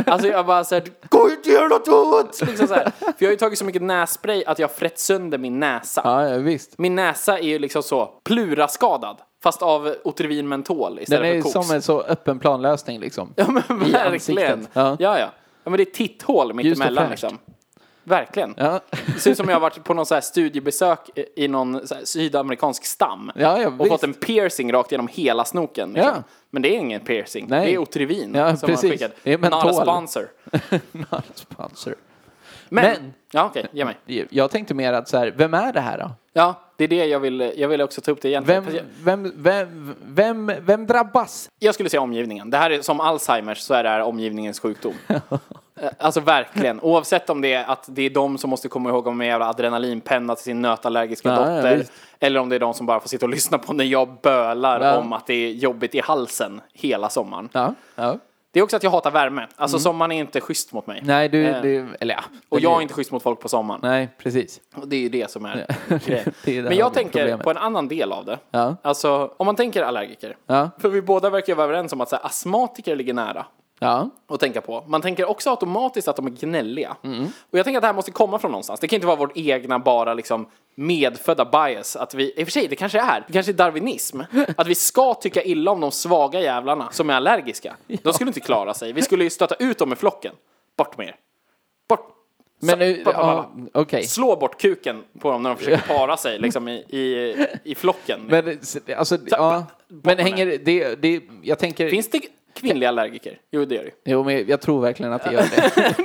[SPEAKER 1] Alltså jag bara såhär, gå ut och gör något åt! Liksom så här. För jag har ju tagit så mycket nässpray att jag har frätt sönder min näsa.
[SPEAKER 2] <laughs> Ja, ja, visst.
[SPEAKER 1] Min näsa är ju liksom så pluraskadad. Fast av Otrivin mentol istället
[SPEAKER 2] Den är
[SPEAKER 1] för
[SPEAKER 2] ju
[SPEAKER 1] koks.
[SPEAKER 2] som en så öppen planlösning liksom.
[SPEAKER 1] Ja men
[SPEAKER 2] I
[SPEAKER 1] verkligen.
[SPEAKER 2] ansiktet.
[SPEAKER 1] Ja.
[SPEAKER 2] Ja.
[SPEAKER 1] ja, ja. men det är ett titthål mitt
[SPEAKER 2] Ljust och
[SPEAKER 1] emellan
[SPEAKER 2] fräscht.
[SPEAKER 1] liksom. Verkligen.
[SPEAKER 2] Ja.
[SPEAKER 1] Det ser ut som jag har varit på någon så här studiebesök i- i någon så här sydamerikansk stam.
[SPEAKER 2] Ja, ja,
[SPEAKER 1] och
[SPEAKER 2] visst.
[SPEAKER 1] fått en piercing rakt genom hela snoken. Liksom.
[SPEAKER 2] Ja.
[SPEAKER 1] Men det är ingen piercing.
[SPEAKER 2] Nej.
[SPEAKER 1] Det är Otrivin
[SPEAKER 2] Ja,
[SPEAKER 1] som
[SPEAKER 2] precis.
[SPEAKER 1] man skickat.
[SPEAKER 2] Det är
[SPEAKER 1] Not a
[SPEAKER 2] mentol.
[SPEAKER 1] sponsor.
[SPEAKER 2] <laughs> Not sponsor.
[SPEAKER 1] Men.
[SPEAKER 2] Men-
[SPEAKER 1] Ja okej, ge mig.
[SPEAKER 2] Jag tänkte mer att så här, vem är det här då?
[SPEAKER 1] Ja, det är det jag vill. Jag vill också ta upp det
[SPEAKER 2] Vem,
[SPEAKER 1] egentligen. Fast jag-
[SPEAKER 2] vem, vem, vem, vem drabbas?
[SPEAKER 1] Jag skulle säga omgivningen. Det här är som Alzheimers så är det här
[SPEAKER 2] <laughs>
[SPEAKER 1] omgivningens sjukdom. Eh, alltså verkligen. Oavsett om det är att det är de som måste komma ihåg om en jävla adrenalinpenna till sin nötallergiska
[SPEAKER 2] Ja, ja,
[SPEAKER 1] dotter.
[SPEAKER 2] visst.
[SPEAKER 1] eller om det är de som bara får sitta och lyssna på när jag bölar
[SPEAKER 2] Ja.
[SPEAKER 1] om att det är jobbigt i halsen hela sommaren.
[SPEAKER 2] Ja. ja.
[SPEAKER 1] Det är också att jag hatar värme. Alltså sommaren är inte schysst mot mig.
[SPEAKER 2] Nej, du,
[SPEAKER 1] Eh,
[SPEAKER 2] du eller ja.
[SPEAKER 1] Och
[SPEAKER 2] Det-
[SPEAKER 1] jag är inte schysst mot folk på sommaren.
[SPEAKER 2] Nej, precis.
[SPEAKER 1] Och det är ju det som är grejen.
[SPEAKER 2] <laughs> Det är det
[SPEAKER 1] Men jag
[SPEAKER 2] här
[SPEAKER 1] tänker
[SPEAKER 2] problemet.
[SPEAKER 1] på en annan del av det.
[SPEAKER 2] Ja.
[SPEAKER 1] Alltså, om man tänker allergiker.
[SPEAKER 2] Ja.
[SPEAKER 1] För vi båda verkar ju vara överens om att så här, astmatiker ligger nära.
[SPEAKER 2] Ja.
[SPEAKER 1] att tänka på. Man tänker också automatiskt att de är gnälliga.
[SPEAKER 2] Mm.
[SPEAKER 1] Och jag tänker att det här måste komma från någonstans. Det kan inte vara vårt egna bara liksom medfödda bias. Att vi, I och för sig, det kanske är. Det kanske
[SPEAKER 2] <laughs>
[SPEAKER 1] är darwinism. Att vi ska tycka illa om de svaga jävlarna som är allergiska. De skulle inte klara sig. Vi skulle ju stöta ut dem i flocken. Bort med er. Bort.
[SPEAKER 2] Men nu,
[SPEAKER 1] Sa-
[SPEAKER 2] ja, okej.
[SPEAKER 1] Slå bort kuken på dem när de
[SPEAKER 2] <laughs>
[SPEAKER 1] försöker para sig liksom i, i, i flocken.
[SPEAKER 2] Men, s- alltså, ja. Men hänger det, det, jag tänker...
[SPEAKER 1] Finns det kvinnliga allergiker? Jo, det gör det ju.
[SPEAKER 2] Jo, men jag tror verkligen att det gör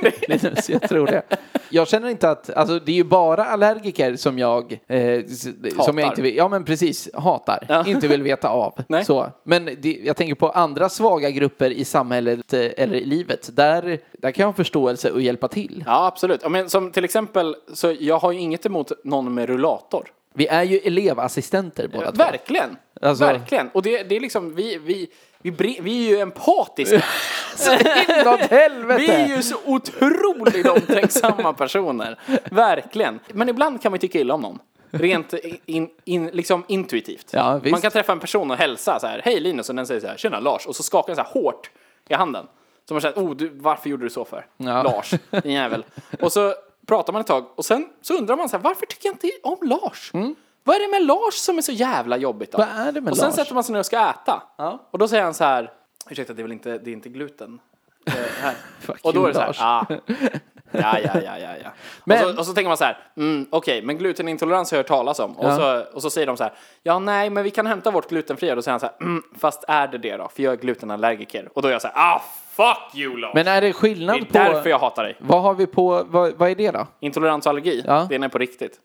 [SPEAKER 1] <laughs>
[SPEAKER 2] det. Linus, jag tror det. Jag känner inte att, alltså det är ju bara allergiker som jag, eh, s- som jag inte vill, ja men precis, hatar,
[SPEAKER 1] Ja.
[SPEAKER 2] inte vill veta av.
[SPEAKER 1] <laughs> Nej.
[SPEAKER 2] Så. Men det, jag tänker på andra svaga grupper i samhället eh, eller
[SPEAKER 1] Mm.
[SPEAKER 2] i livet, där, där kan jag ha förståelse och hjälpa till.
[SPEAKER 1] Ja, absolut. Ja, Men som till exempel, så jag har ju inget emot någon med rullator.
[SPEAKER 2] Vi är ju elevassistenter båda två.
[SPEAKER 1] Verkligen!
[SPEAKER 2] Alltså-
[SPEAKER 1] Verkligen! Och det, det är liksom, vi, vi, vi, bre- vi är ju empatiska.
[SPEAKER 2] Något helvete!
[SPEAKER 1] Vi är ju så otroligt omtänksamma personer. Verkligen. Men ibland kan man ju tycka illa om någon. Rent in, in, liksom intuitivt.
[SPEAKER 2] Ja,
[SPEAKER 1] man
[SPEAKER 2] visst.
[SPEAKER 1] kan träffa en person och hälsa så här, hej Linus, och den säger så här, tjena Lars, och så skakar den så här hårt i handen. Så man känner, oh, du, varför gjorde du så för?
[SPEAKER 2] Ja.
[SPEAKER 1] Lars, din jävel. Och så pratar man ett tag och sen så undrar man så här, varför tycker jag inte om Lars? Vad är det med Lars som är så jävla jobbigt då?
[SPEAKER 2] Mm. Vad är det med
[SPEAKER 1] och sen
[SPEAKER 2] Lars?
[SPEAKER 1] sätter man sig ner och ska äta.
[SPEAKER 2] Ja.
[SPEAKER 1] Och då säger han så här, ursäkta det är väl inte, det är inte gluten? Eh, här.
[SPEAKER 2] Fuck
[SPEAKER 1] Och då
[SPEAKER 2] you,
[SPEAKER 1] är det så här,
[SPEAKER 2] Lars. <laughs>
[SPEAKER 1] ah, ja, ja, ja, ja, ja.
[SPEAKER 2] Men-
[SPEAKER 1] och, så, och så tänker man så här, mm, okej, men glutenintolerans har jag hört talas om. Och,
[SPEAKER 2] Ja.
[SPEAKER 1] så, och så säger de så här, ja, nej, men vi kan hämta vårt glutenfria. Då säger han så här, mm, fast är det det då? För jag är glutenallergiker. Och då är jag så här, ah, fuck you Lars!
[SPEAKER 2] Men är det
[SPEAKER 1] det
[SPEAKER 2] skillnad
[SPEAKER 1] är
[SPEAKER 2] på...
[SPEAKER 1] därför jag hatar dig.
[SPEAKER 2] Vad har vi på, vad, vad är det då? <laughs>
[SPEAKER 1] Intolerans och allergi,
[SPEAKER 2] Ja.
[SPEAKER 1] det är när på riktigt.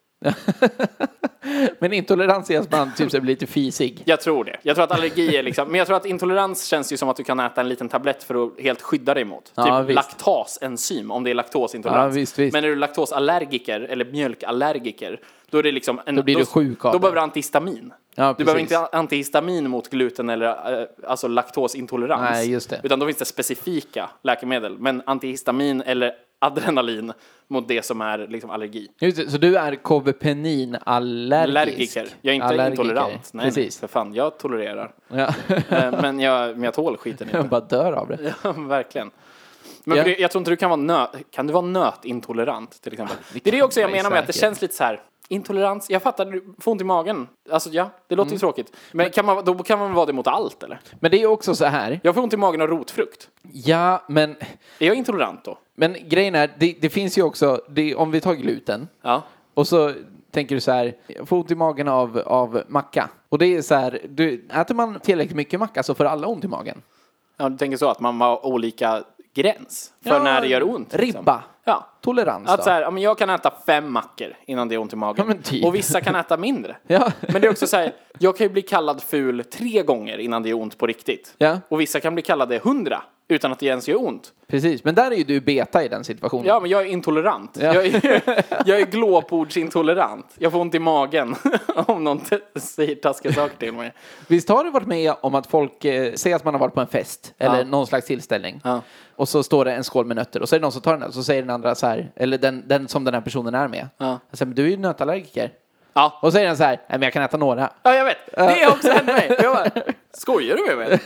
[SPEAKER 2] Men intolerans är att man typ så blir lite fisig.
[SPEAKER 1] Jag tror det. Jag tror att allergi är liksom, men jag tror att intolerans känns ju som att du kan äta en liten tablett för att helt skydda dig mot.
[SPEAKER 2] Ja,
[SPEAKER 1] typ
[SPEAKER 2] visst.
[SPEAKER 1] laktasenzym om det är laktosintolerans.
[SPEAKER 2] Ja, visst, visst.
[SPEAKER 1] Men är du laktosallergiker eller mjölkallergiker, då är det liksom en,
[SPEAKER 2] Då blir du sjuk av
[SPEAKER 1] Då
[SPEAKER 2] det.
[SPEAKER 1] behöver du antihistamin.
[SPEAKER 2] Ja,
[SPEAKER 1] du behöver
[SPEAKER 2] precis.
[SPEAKER 1] inte antihistamin mot gluten eller eh, alltså laktosintolerans.
[SPEAKER 2] Nej, just det.
[SPEAKER 1] Utan då finns det specifika läkemedel. Men antihistamin eller adrenalin mot det som är liksom allergi.
[SPEAKER 2] Just det, så du är KVPNIN-allergisk?
[SPEAKER 1] Allergiker. Jag är inte
[SPEAKER 2] Allergiker.
[SPEAKER 1] intolerant. Nej, Precis.
[SPEAKER 2] Precis.
[SPEAKER 1] för fan. Jag tolererar. <laughs>
[SPEAKER 2] Ja.
[SPEAKER 1] Eh, men, jag, men jag tål skiten
[SPEAKER 2] Jag
[SPEAKER 1] inte.
[SPEAKER 2] bara dör av det.
[SPEAKER 1] Ja, <laughs> Verkligen. Men
[SPEAKER 2] Ja.
[SPEAKER 1] för det, jag tror inte du kan vara nöt... Kan du vara nötintolerant till exempel? Det är det
[SPEAKER 2] kan
[SPEAKER 1] också jag
[SPEAKER 2] man ju
[SPEAKER 1] menar med att det
[SPEAKER 2] säkert.
[SPEAKER 1] känns lite så här. Intolerans, jag fattar, du får ont i magen. Alltså ja, det låter ju
[SPEAKER 2] Mm.
[SPEAKER 1] tråkigt. Men kan man, då kan man vara det mot allt eller?
[SPEAKER 2] Men det är också så här.
[SPEAKER 1] Jag får ont i magen av rotfrukt.
[SPEAKER 2] Ja, men,
[SPEAKER 1] Är jag intolerant då?
[SPEAKER 2] men grejen är, det, det finns ju också, det, om vi tar gluten
[SPEAKER 1] Ja.
[SPEAKER 2] och så tänker du så här, jag får ont i magen av, av macka. Och det är så här, du, äter man tillräckligt mycket macka så får alla ont i magen.
[SPEAKER 1] ja du tänker så att man har olika gräns för
[SPEAKER 2] Ja,
[SPEAKER 1] när det gör ont? liksom.
[SPEAKER 2] ribba.
[SPEAKER 1] Ja.
[SPEAKER 2] Tolerans
[SPEAKER 1] Att
[SPEAKER 2] då?
[SPEAKER 1] så här, ja, men jag kan äta fem mackor innan det är ont i magen.
[SPEAKER 2] Ja, men typ.
[SPEAKER 1] Och vissa kan äta mindre.
[SPEAKER 2] Ja.
[SPEAKER 1] Men det är också så här, jag kan ju bli kallad ful tre gånger innan det gör ont på riktigt.
[SPEAKER 2] Ja. Mm.
[SPEAKER 1] Och vissa kan bli kallade hundra utan att det ens gör ont.
[SPEAKER 2] Precis, men där är ju du beta i den situationen.
[SPEAKER 1] Ja, men jag är intolerant. Jag, är, <laughs> jag är glåpordsintolerant. Jag får ont i magen <laughs> om någon t- säger taskiga saker till mig.
[SPEAKER 2] Visst har du varit med om att folk eh, säger att man har varit på en fest
[SPEAKER 1] Ja.
[SPEAKER 2] eller någon slags tillställning
[SPEAKER 1] Ja.
[SPEAKER 2] och så står det en skål med nötter och så är det någon som tar den och så säger den andra så här, eller den, den som den här personen är med.
[SPEAKER 1] Ja.
[SPEAKER 2] Jag säger, men du är ju nötallergiker.
[SPEAKER 1] Ja.
[SPEAKER 2] Och så säger den så här, nej men jag kan äta några.
[SPEAKER 1] Ja, jag vet. Det har också hänt mig. Jag bara, skojar du med mig?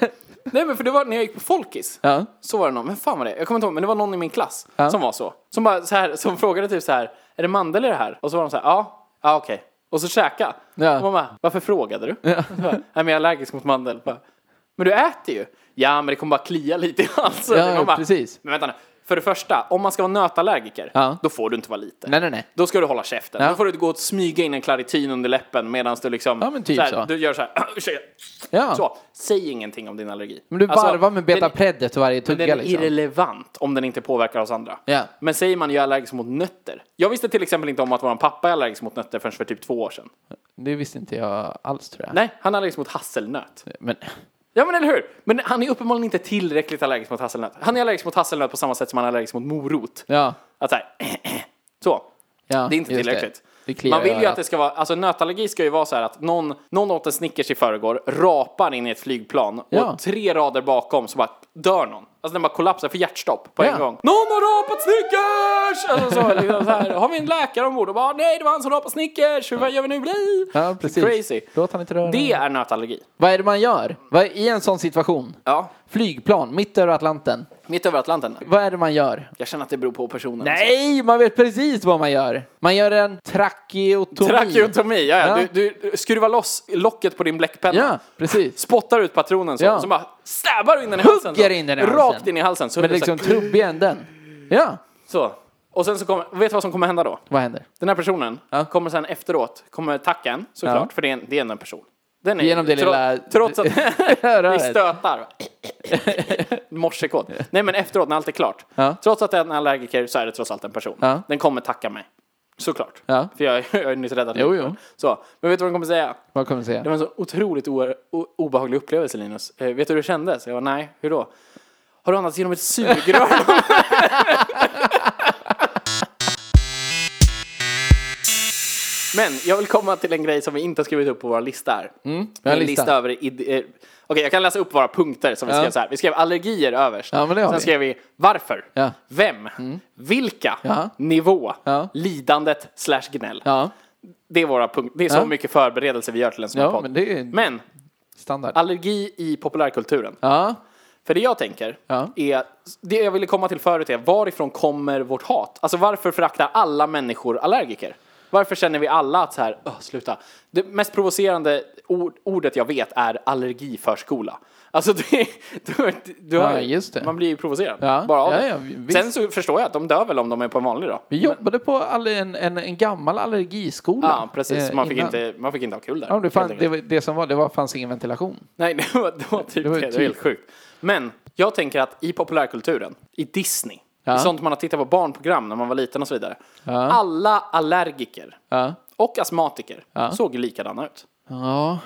[SPEAKER 1] Nej, men för det var när jag gick på Folkis.
[SPEAKER 2] Ja.
[SPEAKER 1] Så var det någon, men fan var det? Jag kommer inte ihåg, men det var någon i min klass som var så. Som bara så här, som frågade typ så här, är det mandel i det här? Och så var de så här, ja, ja okej. Och så käka.
[SPEAKER 2] Ja.
[SPEAKER 1] Och man bara, varför frågade du? Ja. Bara, Nej, men jag är allergisk mot mandel. Bara, men du äter ju. Ja, men det kommer bara klia lite i halsen.
[SPEAKER 2] Ja,
[SPEAKER 1] Man bara,
[SPEAKER 2] precis.
[SPEAKER 1] Men vänta nu. För det första, om man ska vara nötallergiker,
[SPEAKER 2] Ja.
[SPEAKER 1] då får du inte vara lite.
[SPEAKER 2] Nej nej nej.
[SPEAKER 1] Då ska du hålla käften.
[SPEAKER 2] Ja.
[SPEAKER 1] Då får du gå och smyga in en klaritin under läppen medan du liksom...
[SPEAKER 2] Ja, men typ
[SPEAKER 1] här,
[SPEAKER 2] så.
[SPEAKER 1] Du gör så här, <clears throat> ursäkta.
[SPEAKER 2] Ja.
[SPEAKER 1] Så, säg ingenting om din allergi.
[SPEAKER 2] Men du
[SPEAKER 1] Alltså,
[SPEAKER 2] varvar med beta
[SPEAKER 1] den-
[SPEAKER 2] preddet varje
[SPEAKER 1] Den
[SPEAKER 2] tugga
[SPEAKER 1] är
[SPEAKER 2] liksom.
[SPEAKER 1] irrelevant om den inte påverkar oss andra.
[SPEAKER 2] Ja.
[SPEAKER 1] Men säger man jag är allergisk mot nötter. Jag visste till exempel inte om att vår pappa är allergisk mot nötter förrän för typ två år sedan.
[SPEAKER 2] Det visste inte jag alls tror jag.
[SPEAKER 1] Nej, han är allergisk mot hasselnöt.
[SPEAKER 2] Men,
[SPEAKER 1] Ja men eller hur? Men han är uppenbarligen inte tillräckligt allergisk mot hasselnöt. Han är allergisk mot hasselnöt på samma sätt som han är allergisk mot morot.
[SPEAKER 2] ja.
[SPEAKER 1] Att så här, <clears throat> så.
[SPEAKER 2] ja
[SPEAKER 1] Det är inte
[SPEAKER 2] just
[SPEAKER 1] tillräckligt.
[SPEAKER 2] Det kliar
[SPEAKER 1] Man vill
[SPEAKER 2] i
[SPEAKER 1] ju att
[SPEAKER 2] örat.
[SPEAKER 1] det ska vara, alltså nötallergi ska ju vara så här att någon, någon åt en Snickers i förrgår, rapar in i ett flygplan
[SPEAKER 2] Ja.
[SPEAKER 1] och tre rader bakom så bara dör någon. Alltså den bara kollapsar för hjärtstopp på
[SPEAKER 2] Ja.
[SPEAKER 1] en gång. Någon har rapat Snickers!
[SPEAKER 2] <laughs>
[SPEAKER 1] Alltså så, liksom så här, har vi en läkare ombord och bara nej det var han som rapade Snickers, hur vad gör vi nu? Bli?
[SPEAKER 2] Ja precis.
[SPEAKER 1] Crazy.
[SPEAKER 2] Låt han inte röra.
[SPEAKER 1] Det är nötallergi.
[SPEAKER 2] Vad är det man gör? Vad är, I en sån situation?
[SPEAKER 1] Ja.
[SPEAKER 2] Flygplan mitt över Atlanten.
[SPEAKER 1] Mitt över Atlanten.
[SPEAKER 2] Vad är det man gör?
[SPEAKER 1] Jag känner att det beror på personen. alltså.
[SPEAKER 2] Nej, man vet precis vad man gör. Man gör en tracheotomi.
[SPEAKER 1] Trakeotomi, ja, ja.
[SPEAKER 2] Ja.
[SPEAKER 1] Du, du skruvar loss locket på din bläckpenna.
[SPEAKER 2] Ja, precis.
[SPEAKER 1] Spottar ut patronen så,
[SPEAKER 2] Ja.
[SPEAKER 1] så bara stabbar du in den i halsen.
[SPEAKER 2] Hugger
[SPEAKER 1] så.
[SPEAKER 2] in den i halsen.
[SPEAKER 1] Rakt in i halsen. Så
[SPEAKER 2] Med
[SPEAKER 1] det är
[SPEAKER 2] liksom
[SPEAKER 1] så, här,
[SPEAKER 2] trubbig änden. Ja,
[SPEAKER 1] så. Och sen så kommer, vet du vad som kommer hända då?
[SPEAKER 2] vad händer?
[SPEAKER 1] Den här personen
[SPEAKER 2] Ja.
[SPEAKER 1] kommer sen efteråt, kommer tacken såklart,
[SPEAKER 2] Ja.
[SPEAKER 1] för det är, en, det är ändå en person. Den är,
[SPEAKER 2] Genom det
[SPEAKER 1] tro-
[SPEAKER 2] lilla-
[SPEAKER 1] Trots att <laughs> vi
[SPEAKER 2] <laughs> Röret.
[SPEAKER 1] stötar. <laughs> Morsekod. Nej men efteråt när allt är klart.
[SPEAKER 2] Ja.
[SPEAKER 1] Trots att det är en allergiker så är det trots allt en person.
[SPEAKER 2] Ja.
[SPEAKER 1] Den kommer tacka mig. Såklart.
[SPEAKER 2] Ja.
[SPEAKER 1] För jag, jag är <laughs> nyss räddad.
[SPEAKER 2] Jo, jo.
[SPEAKER 1] Så. Men vet du vad de kommer säga?
[SPEAKER 2] Vad kommer du säga?
[SPEAKER 1] Det var en så otroligt o- o- obehaglig upplevelse Linus. Eh, vet du hur det kändes? Jag var nej, hur då? Har du andats genom ett sugrör? <laughs> Men jag vill komma till en grej som vi inte har skrivit upp på vår lista här.
[SPEAKER 2] Mm, vi har
[SPEAKER 1] en
[SPEAKER 2] en
[SPEAKER 1] lista,
[SPEAKER 2] lista.
[SPEAKER 1] över... id- eh, Okej, jag kan läsa upp våra punkter som vi
[SPEAKER 2] Ja.
[SPEAKER 1] skrev så här. Vi skrev allergier överst.
[SPEAKER 2] Ja, men det har
[SPEAKER 1] Sen
[SPEAKER 2] vi.
[SPEAKER 1] skrev vi varför,
[SPEAKER 2] Ja. Mm.
[SPEAKER 1] vem, vilka,
[SPEAKER 2] Ja.
[SPEAKER 1] nivå,
[SPEAKER 2] Ja.
[SPEAKER 1] lidandet slash gnäll.
[SPEAKER 2] Ja,
[SPEAKER 1] Det är våra punkter. Det är så
[SPEAKER 2] Ja.
[SPEAKER 1] mycket förberedelse vi gör till en sån här
[SPEAKER 2] ja
[SPEAKER 1] podd.
[SPEAKER 2] men det är
[SPEAKER 1] Men
[SPEAKER 2] standard.
[SPEAKER 1] allergi i populärkulturen.
[SPEAKER 2] Ja,
[SPEAKER 1] För det jag tänker
[SPEAKER 2] Ja.
[SPEAKER 1] är, det jag ville komma till förut är varifrån kommer vårt hat? Alltså varför föraktar alla människor allergiker? Varför känner vi alla att så här, "Åh, sluta. Det mest provocerande ord, ordet jag vet är allergiförskola. Alltså det, du, du har,
[SPEAKER 2] Ja, just det.
[SPEAKER 1] man blir ju provocerad
[SPEAKER 2] Ja,
[SPEAKER 1] bara av
[SPEAKER 2] ja,
[SPEAKER 1] det.
[SPEAKER 2] ja, visst.
[SPEAKER 1] Sen så förstår jag att de dör väl om de är på en vanlig dag.
[SPEAKER 2] vi jobbade på all- en, en, en gammal allergiskola.
[SPEAKER 1] Ja, precis.
[SPEAKER 2] eh,
[SPEAKER 1] Man fick,
[SPEAKER 2] innan.
[SPEAKER 1] inte, man fick inte ha kul där.
[SPEAKER 2] Ja, det,
[SPEAKER 1] helt
[SPEAKER 2] fann,
[SPEAKER 1] enkelt.
[SPEAKER 2] det, var, det som var, det var, fanns ingen ventilation.
[SPEAKER 1] Nej, <laughs> det var, det var typ det.
[SPEAKER 2] Det var
[SPEAKER 1] Var
[SPEAKER 2] ju
[SPEAKER 1] Det var helt
[SPEAKER 2] typ.
[SPEAKER 1] sjukt. Men jag tänker att i populärkulturen, i Disney,
[SPEAKER 2] Ja.
[SPEAKER 1] i sånt man har tittat på barnprogram när man var liten och så vidare.
[SPEAKER 2] Ja.
[SPEAKER 1] Alla allergiker
[SPEAKER 2] Ja,
[SPEAKER 1] och astmatiker såg ju likadana ut.
[SPEAKER 2] ja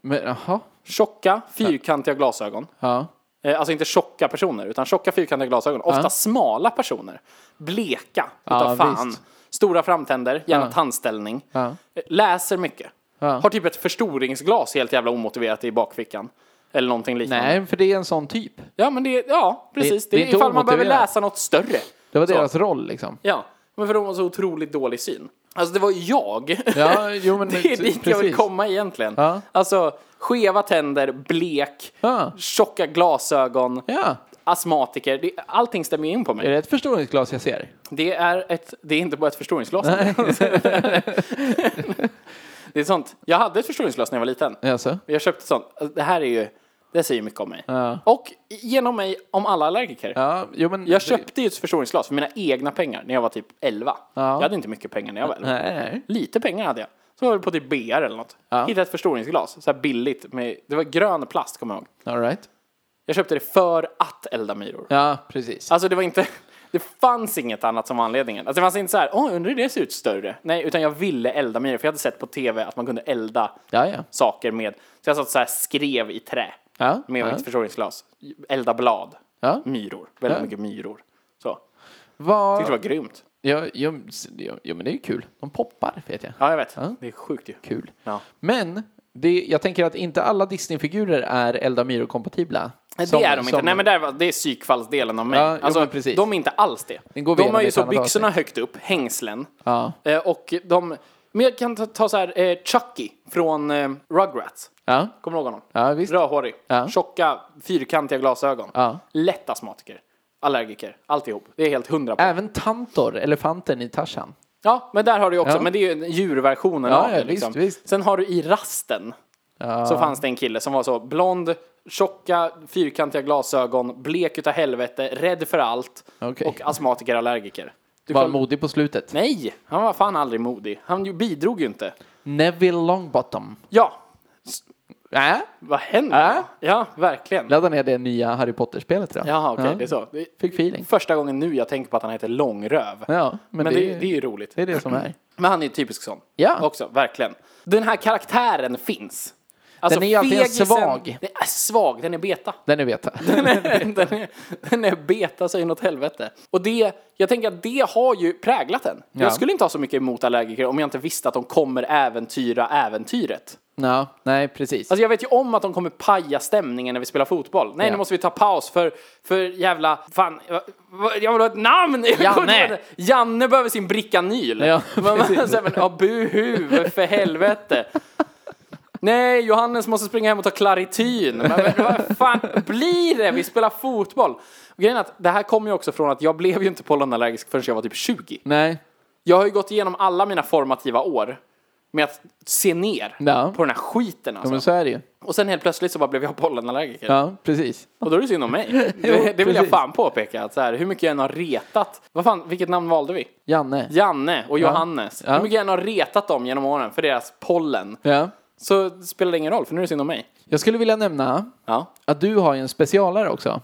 [SPEAKER 2] men jaha.
[SPEAKER 1] Tjocka, fyrkantiga glasögon.
[SPEAKER 2] Ja.
[SPEAKER 1] Eh, Alltså inte tjocka personer, utan tjocka fyrkantiga glasögon. Ofta smala personer. Bleka, utav
[SPEAKER 2] Ja,
[SPEAKER 1] fan.
[SPEAKER 2] visst.
[SPEAKER 1] Stora framtänder, gärna tandställning.
[SPEAKER 2] Ja.
[SPEAKER 1] Eh, Läser mycket. Har typ ett förstoringsglas helt jävla omotiverat i bakfickan. Eller någonting liknande.
[SPEAKER 2] Nej, för det är en sån typ.
[SPEAKER 1] Ja, men det, ja precis. Det,
[SPEAKER 2] det är
[SPEAKER 1] är
[SPEAKER 2] inte
[SPEAKER 1] ifall man behöver
[SPEAKER 2] omotiverat.
[SPEAKER 1] läsa något större.
[SPEAKER 2] Det var
[SPEAKER 1] Så.
[SPEAKER 2] deras roll liksom.
[SPEAKER 1] Ja, men för de har så otroligt dålig syn. Alltså det var jag.
[SPEAKER 2] Ja, jo, men
[SPEAKER 1] <laughs> det är dit jag vill
[SPEAKER 2] precis.
[SPEAKER 1] komma egentligen.
[SPEAKER 2] Ja.
[SPEAKER 1] Alltså skeva tänder, blek,
[SPEAKER 2] Ja.
[SPEAKER 1] tjocka glasögon,
[SPEAKER 2] Ja,
[SPEAKER 1] astmatiker. Det, allting stämmer in på
[SPEAKER 2] är
[SPEAKER 1] mig.
[SPEAKER 2] det ett förstoringsglas jag ser?
[SPEAKER 1] Det är, ett, det är inte bara ett förstoringsglas. <laughs> det är sånt. Jag hade ett förstoringsglas när jag var liten.
[SPEAKER 2] Jaså?
[SPEAKER 1] Jag köpte ett sånt. Alltså, Det här är ju, det säger mycket om mig.
[SPEAKER 2] Ja.
[SPEAKER 1] Och genom mig om alla allergiker.
[SPEAKER 2] Ja, jo, men
[SPEAKER 1] Jag köpte ju ett förstoringsglas för mina egna pengar när jag var typ 11. Jag hade inte mycket pengar när jag var 11.
[SPEAKER 2] Nej, nej.
[SPEAKER 1] Lite pengar hade jag. Så var jag på typ BR eller något.
[SPEAKER 2] Ja.
[SPEAKER 1] Hittade ett förstoringsglas, så här billigt. Med, det var grön plast kommer jag ihåg.
[SPEAKER 2] All right.
[SPEAKER 1] Jag köpte det för att elda myror.
[SPEAKER 2] Ja, precis.
[SPEAKER 1] Alltså det var inte, det fanns inget annat som var anledningen. Alltså det fanns inte så här, åh undrar hur det ser ut större. Nej, utan jag ville elda myror för jag hade sett på tv att man kunde elda
[SPEAKER 2] Ja, ja.
[SPEAKER 1] saker med, så jag satt så här skrev i trä.
[SPEAKER 2] Ja,
[SPEAKER 1] Med
[SPEAKER 2] ja.
[SPEAKER 1] mitt förstoringsglas. Elda blad.
[SPEAKER 2] Ja.
[SPEAKER 1] Myror. Väldigt
[SPEAKER 2] Ja.
[SPEAKER 1] mycket myror. Så.
[SPEAKER 2] Vad...
[SPEAKER 1] Det var grymt.
[SPEAKER 2] Ja, jo, s- jo, jo, men det är ju kul. De poppar, vet jag.
[SPEAKER 1] Ja, jag vet. Det är sjukt ju.
[SPEAKER 2] Kul.
[SPEAKER 1] Ja.
[SPEAKER 2] Men det, jag tänker att inte alla Disney-figurer är Elda Myro-kompatibla.
[SPEAKER 1] Nej,
[SPEAKER 2] Som-
[SPEAKER 1] det är de inte.
[SPEAKER 2] som-
[SPEAKER 1] Nej, men det är, det är psykfallsdelen av mig.
[SPEAKER 2] Ja, jo,
[SPEAKER 1] alltså,
[SPEAKER 2] men precis.
[SPEAKER 1] de är inte alls det.
[SPEAKER 2] Den går vi
[SPEAKER 1] De
[SPEAKER 2] igenom
[SPEAKER 1] har ju
[SPEAKER 2] lite
[SPEAKER 1] så
[SPEAKER 2] annat
[SPEAKER 1] byxorna högt upp, hängslen.
[SPEAKER 2] Ja.
[SPEAKER 1] Eh, och de... Men jag kan ta, ta så här, eh, Chucky från eh, Rugrats.
[SPEAKER 2] Ja,
[SPEAKER 1] Kommer du ihåg honom?
[SPEAKER 2] ja visst.
[SPEAKER 1] Rödhårig,
[SPEAKER 2] Ja.
[SPEAKER 1] tjocka, fyrkantiga glasögon.
[SPEAKER 2] Ja.
[SPEAKER 1] Lätt astmatiker, allergiker, alltihop. Det är helt hundra på.
[SPEAKER 2] Även Tantor, elefanten i Tarzan.
[SPEAKER 1] Ja, men där har du ju också,
[SPEAKER 2] Ja.
[SPEAKER 1] men det är ju djurversionen
[SPEAKER 2] Ja,
[SPEAKER 1] av det.
[SPEAKER 2] ja, visst,
[SPEAKER 1] Liksom.
[SPEAKER 2] visst.
[SPEAKER 1] Sen har du i rasten, så fanns det en kille som var så blond, tjocka, fyrkantiga glasögon, blek utav helvete, rädd för allt
[SPEAKER 2] Okej.
[SPEAKER 1] och astmatiker, allergiker. Du
[SPEAKER 2] Var
[SPEAKER 1] kan-
[SPEAKER 2] modig på slutet.
[SPEAKER 1] Nej, han var fan aldrig modig. Han ju- bidrog ju inte.
[SPEAKER 2] Neville Longbottom.
[SPEAKER 1] Ja,
[SPEAKER 2] Äh?
[SPEAKER 1] vad händer?
[SPEAKER 2] Äh?
[SPEAKER 1] Ja, verkligen.
[SPEAKER 2] Ladda ner det nya Harry Potter-spelet idag.
[SPEAKER 1] Jaha, okej, det är så. Det är
[SPEAKER 2] Fick feeling.
[SPEAKER 1] första gången nu jag tänker på att han heter Långröv.
[SPEAKER 2] Ja, men,
[SPEAKER 1] Men, det,
[SPEAKER 2] det,
[SPEAKER 1] är- det är ju roligt.
[SPEAKER 2] det är
[SPEAKER 1] <clears throat>
[SPEAKER 2] det som är.
[SPEAKER 1] Men han är ju typisk sån.
[SPEAKER 2] Ja.
[SPEAKER 1] Också, verkligen. Den här karaktären finns. Alltså,
[SPEAKER 2] Den är ju alltid
[SPEAKER 1] fegisen-
[SPEAKER 2] svag.
[SPEAKER 1] Den är svag, den är beta. <laughs>
[SPEAKER 2] Den är veta.
[SPEAKER 1] den, är, den är beta så inåt helvete. Och det, jag tänker att det har ju präglat den.
[SPEAKER 2] Ja.
[SPEAKER 1] Jag skulle inte ha så mycket emot allergiker om jag inte visste att de kommer äventyra äventyret.
[SPEAKER 2] Ja, nej, precis.
[SPEAKER 1] Alltså jag vet ju om att de kommer paja stämningen när vi spelar fotboll. Nej,
[SPEAKER 2] Ja.
[SPEAKER 1] nu måste vi ta paus för, för jävla... Fan, jag- jag vill ha ett namn! <laughs> Jag
[SPEAKER 2] Janne.
[SPEAKER 1] kommer inte ihåg det. Janne behöver sin <laughs> bricka nyl.
[SPEAKER 2] Ja,
[SPEAKER 1] Man- man-
[SPEAKER 2] precis.
[SPEAKER 1] så här, men, ja, buhu, för helvete. Nej, Johannes måste springa hem och ta Claritin. Men, men vad fan blir det? Vi spelar fotboll. Och grejen är att det här kommer ju också från att jag blev ju inte pollenallergisk förrän jag var typ 20.
[SPEAKER 2] Nej.
[SPEAKER 1] Jag har ju gått igenom alla mina formativa år med att se ner
[SPEAKER 2] Ja.
[SPEAKER 1] på den här skiten
[SPEAKER 2] Ja,
[SPEAKER 1] alltså.
[SPEAKER 2] men så är det ju.
[SPEAKER 1] Och sen helt plötsligt så bara blev jag pollenallergiker.
[SPEAKER 2] Ja, precis.
[SPEAKER 1] Och då är det synd om
[SPEAKER 2] <laughs>
[SPEAKER 1] mig. Det, det vill jag
[SPEAKER 2] precis.
[SPEAKER 1] fan påpeka. Att så här, hur mycket jag än har retat. Vad fan, vilket namn valde vi?
[SPEAKER 2] Janne.
[SPEAKER 1] Janne och Johannes.
[SPEAKER 2] Ja.
[SPEAKER 1] Hur mycket jag än har retat dem genom åren för deras pollen.
[SPEAKER 2] Ja.
[SPEAKER 1] Så spelar det ingen roll, för nu är det synd om mig.
[SPEAKER 2] Jag skulle vilja nämna
[SPEAKER 1] <laughs> Ja.
[SPEAKER 2] att du har ju en specialare också.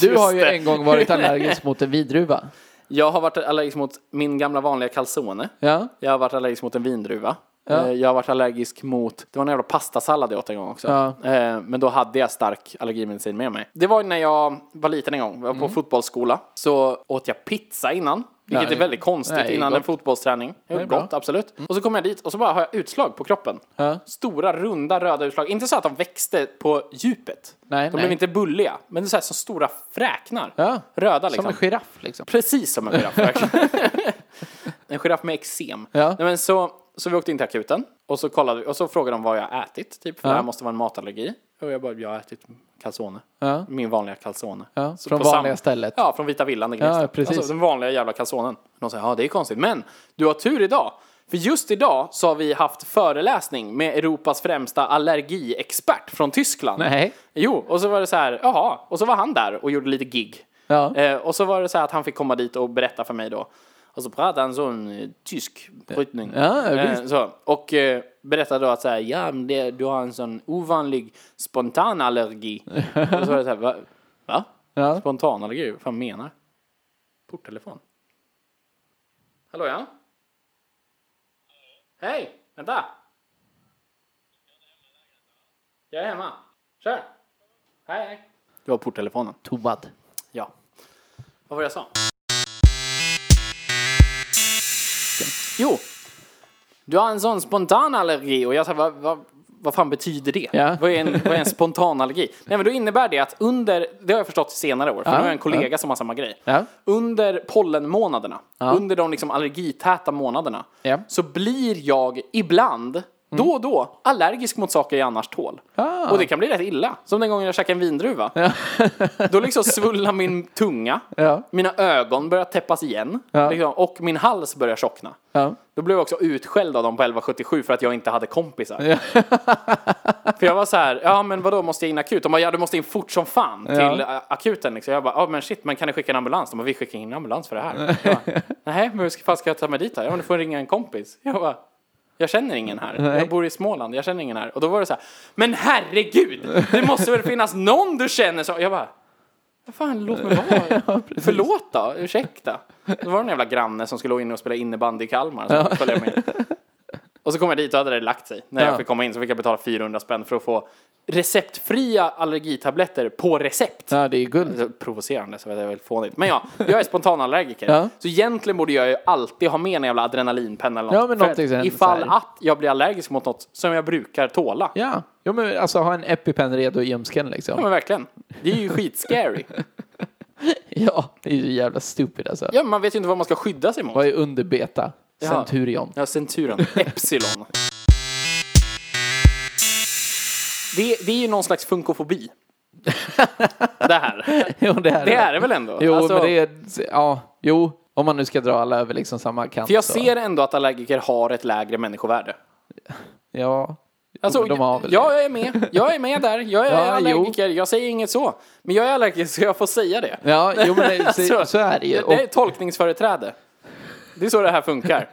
[SPEAKER 2] Du har ju en gång <laughs> varit allergisk mot en vidruva.
[SPEAKER 1] Jag har varit allergisk mot min gamla vanliga calzone.
[SPEAKER 2] Ja,
[SPEAKER 1] Jag har varit allergisk mot en vindruva.
[SPEAKER 2] Ja.
[SPEAKER 1] Eh, Jag har varit allergisk mot, det var en jävla pastasallad jag åt en gång också.
[SPEAKER 2] Ja.
[SPEAKER 1] Eh, Men då hade jag stark allergimedicin med mig. Det var ju när jag var liten en gång, jag var på
[SPEAKER 2] Mm.
[SPEAKER 1] fotbollsskola. Så åt jag pizza innan. Vilket
[SPEAKER 2] Nej.
[SPEAKER 1] är väldigt konstigt
[SPEAKER 2] Nej,
[SPEAKER 1] innan
[SPEAKER 2] gott.
[SPEAKER 1] en fotbollsträning. Det
[SPEAKER 2] är
[SPEAKER 1] var
[SPEAKER 2] bra. Mm.
[SPEAKER 1] gott, absolut. Och så kom jag dit och så bara har jag utslag på kroppen.
[SPEAKER 2] Ja.
[SPEAKER 1] Stora, runda, röda utslag. Inte så att de växte på djupet.
[SPEAKER 2] Nej,
[SPEAKER 1] de
[SPEAKER 2] nej.
[SPEAKER 1] blev inte bulliga. Men det är så här som stora fräknar.
[SPEAKER 2] Ja.
[SPEAKER 1] Röda
[SPEAKER 2] som
[SPEAKER 1] liksom.
[SPEAKER 2] en giraff liksom.
[SPEAKER 1] Precis som
[SPEAKER 2] <laughs>
[SPEAKER 1] en giraff verkligen. En giraff med eksem.
[SPEAKER 2] Ja.
[SPEAKER 1] Nej, men så, så vi åkte in till akuten och så, kollade vi, och så frågade de vad jag ätit, typ, för
[SPEAKER 2] Ja.
[SPEAKER 1] det här måste vara en matallergi. Och jag bara, jag har ätit calzone.
[SPEAKER 2] Ja.
[SPEAKER 1] Min vanliga calzone.
[SPEAKER 2] Ja,
[SPEAKER 1] Så
[SPEAKER 2] från
[SPEAKER 1] på sam-
[SPEAKER 2] vanliga stället.
[SPEAKER 1] Ja, från Vita Villan i Gnesta.
[SPEAKER 2] Ja, precis.
[SPEAKER 1] Alltså den vanliga jävla calzonen. De säger, ja det är konstigt, men du har tur idag. För just idag så har vi haft föreläsning med Europas främsta allergiexpert från Tyskland.
[SPEAKER 2] Nej.
[SPEAKER 1] Jo, och så var det så här, jaha, och så var han där och gjorde lite gig.
[SPEAKER 2] Ja.
[SPEAKER 1] Eh, och så var det så här att han fick komma dit och berätta för mig då. Och så pratade han sån eh, tysk brytning.
[SPEAKER 2] Ja,
[SPEAKER 1] eh,
[SPEAKER 2] visst.
[SPEAKER 1] så. Och eh, berättade då att så här, ja, men det, du har en sån ovanlig spontan allergi. och så var det så här, va? va?
[SPEAKER 2] Ja.
[SPEAKER 1] Spontan allergi? Vad fan menar Porttelefon. Hallå ja? Hej, vänta. Jag är hemma. Kör. Hej, hej. Det var porttelefonen.
[SPEAKER 2] Toad.
[SPEAKER 1] Ja. Vad var det jag sa? Jo. Du har en sån spontan allergi och jag sa vad, vad, vad fan betyder det?
[SPEAKER 2] Ja.
[SPEAKER 1] Vad, är en, vad är en spontan allergi? Nej men då innebär det att under, det har jag förstått i senare år,
[SPEAKER 2] Ja,
[SPEAKER 1] för nu har jag en kollega som har samma grej.
[SPEAKER 2] Ja.
[SPEAKER 1] Under pollenmånaderna, under de liksom allergitäta månaderna,
[SPEAKER 2] Ja. Mm.
[SPEAKER 1] så blir jag ibland, då och då, allergisk mot saker jag annars tål.
[SPEAKER 2] Ah.
[SPEAKER 1] Och det kan bli rätt illa. Som den gången jag käkade en vindruva. Då liksom svullnar min tunga,
[SPEAKER 2] Ja.
[SPEAKER 1] mina ögon börjar täppas igen
[SPEAKER 2] Ja.
[SPEAKER 1] liksom, och min hals börjar tjockna.
[SPEAKER 2] Ja.
[SPEAKER 1] Då blev jag också utskälld av dem på 1177 för att jag inte hade kompisar. för jag var så här, ja men vadå måste jag in akut? De bara, ja du måste in fort som fan till ä, akuten. Liksom. Jag bara, ja men shit, men kan ni skicka en ambulans? De bara, vi skickar ingen ambulans för det här. Jag bara, Nej, men hur ska- fan ska jag ta mig dit här? Ja men du får ringa en kompis. Jag bara, jag känner ingen här. Jag bor i Småland, jag känner ingen här. Och då var det så här, men herregud, det måste väl finnas någon du känner som... Jag bara, vad fan, låt mig
[SPEAKER 2] <laughs>
[SPEAKER 1] vara. Förlåt då, ursäkta. Det var det en jävla granne som skulle gå in och spela innebandy i Kalmar. Så ja. följde jag
[SPEAKER 2] <laughs>
[SPEAKER 1] med. Och så kom jag dit och hade det lagt sig. När
[SPEAKER 2] Ja.
[SPEAKER 1] jag fick komma in så fick jag betala 400 spänn för att få receptfria allergitabletter på recept.
[SPEAKER 2] Ja, det är ju guld.
[SPEAKER 1] Så provocerande så det är väl fånigt. Men ja, jag är spontanallergiker.
[SPEAKER 2] <laughs> Ja.
[SPEAKER 1] Så egentligen borde jag ju alltid ha med en jävla adrenalinpenna eller något.
[SPEAKER 2] Ja, men
[SPEAKER 1] För
[SPEAKER 2] någonting som
[SPEAKER 1] att
[SPEAKER 2] händer
[SPEAKER 1] ifall
[SPEAKER 2] så här.
[SPEAKER 1] att jag blir allergisk mot något som jag brukar tåla. Ja.
[SPEAKER 2] Ja. Jo, men alltså ha en EpiPen redo i ljumsken liksom.
[SPEAKER 1] men verkligen. Det är
[SPEAKER 2] <laughs>
[SPEAKER 1] ju skitscary.
[SPEAKER 2] Ja, det är ju jävla stupid alltså.
[SPEAKER 1] Ja, men man vet ju inte vad man ska skydda sig mot.
[SPEAKER 2] Vad är underbeta? Centurion.
[SPEAKER 1] Ja, Centurion. Epsilon. Det, det är ju någon slags funkofobi. Det här.
[SPEAKER 2] <laughs> Jo, det är
[SPEAKER 1] Det är det väl ändå?
[SPEAKER 2] Jo,
[SPEAKER 1] Alltså,
[SPEAKER 2] men det är... Ja, jo. Om man nu ska dra alla över liksom samma kant.
[SPEAKER 1] För jag
[SPEAKER 2] så-
[SPEAKER 1] ser ändå att allergiker har ett lägre människovärde.
[SPEAKER 2] Ja.
[SPEAKER 1] Alltså,
[SPEAKER 2] Jo, de har väl
[SPEAKER 1] ja, jag är med. Jag är med där. Jag är
[SPEAKER 2] Ja,
[SPEAKER 1] allergiker. Jag säger inget så. Men jag är allergiker så jag får säga det. Alltså,
[SPEAKER 2] Ja, jo, men
[SPEAKER 1] <laughs>
[SPEAKER 2] det, så, så är det ju.
[SPEAKER 1] Det är
[SPEAKER 2] Och,
[SPEAKER 1] tolkningsföreträde. Det är så det
[SPEAKER 2] <laughs>
[SPEAKER 1] här funkar.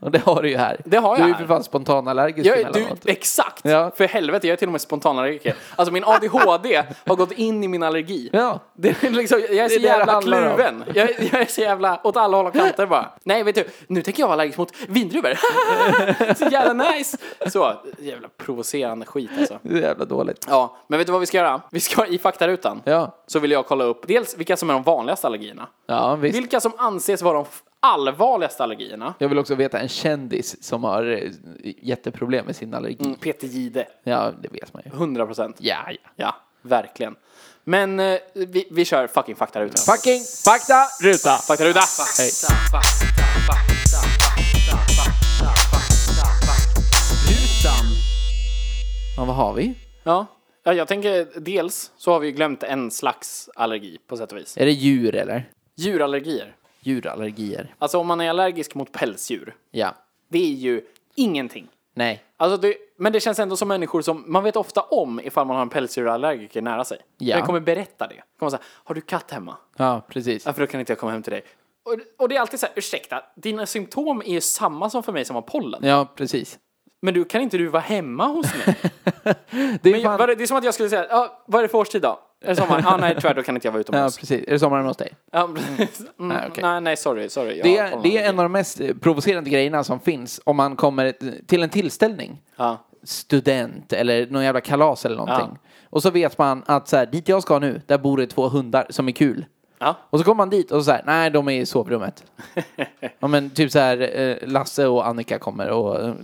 [SPEAKER 2] och det har du ju här.
[SPEAKER 1] Det har jag
[SPEAKER 2] du är ju
[SPEAKER 1] här.
[SPEAKER 2] för fan spontanallergisk
[SPEAKER 1] Jag, du,
[SPEAKER 2] emellanåt.
[SPEAKER 1] exakt!
[SPEAKER 2] Ja.
[SPEAKER 1] För helvete, jag är till och med spontanallergiker. Alltså min ADHD har gått in i min allergi.
[SPEAKER 2] Ja.
[SPEAKER 1] Det är liksom, jag är så
[SPEAKER 2] det det
[SPEAKER 1] jävla
[SPEAKER 2] handlar om.
[SPEAKER 1] kluven. Jag, jag är så jävla åt alla håll och kanter bara. Nej, vet du, nu tänker jag vara allergisk mot vindruvor. <laughs> så jävla nice! Så, jävla provocerande skit alltså.
[SPEAKER 2] Det är jävla dåligt.
[SPEAKER 1] Ja, men vet du vad vi ska göra? Vi ska i faktarutan.
[SPEAKER 2] Ja.
[SPEAKER 1] Så vill jag kolla upp dels vilka som är de vanligaste allergierna.
[SPEAKER 2] Ja, visst.
[SPEAKER 1] Vilka som anses vara de f- allvarligaste allergierna.
[SPEAKER 2] Jag vill också veta en kändis som har eh, jätteproblem med sin allergi.
[SPEAKER 1] Mm, Peter Jihde,
[SPEAKER 2] Ja, det vet man ju.
[SPEAKER 1] 100 procent.
[SPEAKER 2] Ja, ja.
[SPEAKER 1] Ja, verkligen. Men eh, vi, vi kör fucking faktaruta.
[SPEAKER 2] Fucking fakta ruta!
[SPEAKER 1] Faktaruta! Hej.
[SPEAKER 2] Ja, vad har vi?
[SPEAKER 1] Ja. ja, jag tänker dels så har vi ju glömt en slags allergi på sätt och vis.
[SPEAKER 2] Är det djur eller?
[SPEAKER 1] Djurallergier.
[SPEAKER 2] Djurallergier.
[SPEAKER 1] Alltså om man är allergisk mot pälsdjur,
[SPEAKER 2] Ja.
[SPEAKER 1] det är ju ingenting.
[SPEAKER 2] Nej.
[SPEAKER 1] Alltså det, men det känns ändå som människor som, man vet ofta om ifall man har en pälsdjurallergiker nära sig.
[SPEAKER 2] Ja.
[SPEAKER 1] Den kommer berätta det. Kommer säga, har du katt hemma?
[SPEAKER 2] Ja, precis.
[SPEAKER 1] Ja, för då kan inte jag komma hem till dig. Och, och det är alltid så här, ursäkta, dina symptom är ju samma som för mig som har pollen.
[SPEAKER 2] Ja, precis.
[SPEAKER 1] Men du kan inte du vara hemma hos mig?
[SPEAKER 2] <laughs> Det är
[SPEAKER 1] Men
[SPEAKER 2] fan...
[SPEAKER 1] jag, vad är det, det är som att jag skulle säga, ja, vad är det för årstid då? Är det sommar? Ja, nej tyvärr, då kan inte jag vara
[SPEAKER 2] Ja,
[SPEAKER 1] utomhus.
[SPEAKER 2] precis. Är det sommaren hos dig?
[SPEAKER 1] Ja, precis. mm,
[SPEAKER 2] Nej, Ah, okej.
[SPEAKER 1] nej, nej, sorry, sorry. jag
[SPEAKER 2] Det
[SPEAKER 1] har
[SPEAKER 2] är,
[SPEAKER 1] pollen.
[SPEAKER 2] det är en av de mest eh, provocerande grejerna som finns om man kommer till en tillställning.
[SPEAKER 1] Ja.
[SPEAKER 2] Student eller någon jävla kalas eller någonting. Och så vet man att så här, dit jag ska nu, där bor det två hundar som är kul.
[SPEAKER 1] Ja.
[SPEAKER 2] Och så kommer man dit och så här, nej de är i sovrummet.
[SPEAKER 1] <laughs>
[SPEAKER 2] ja men typ så här, eh, Lasse och Annika kommer och, eh,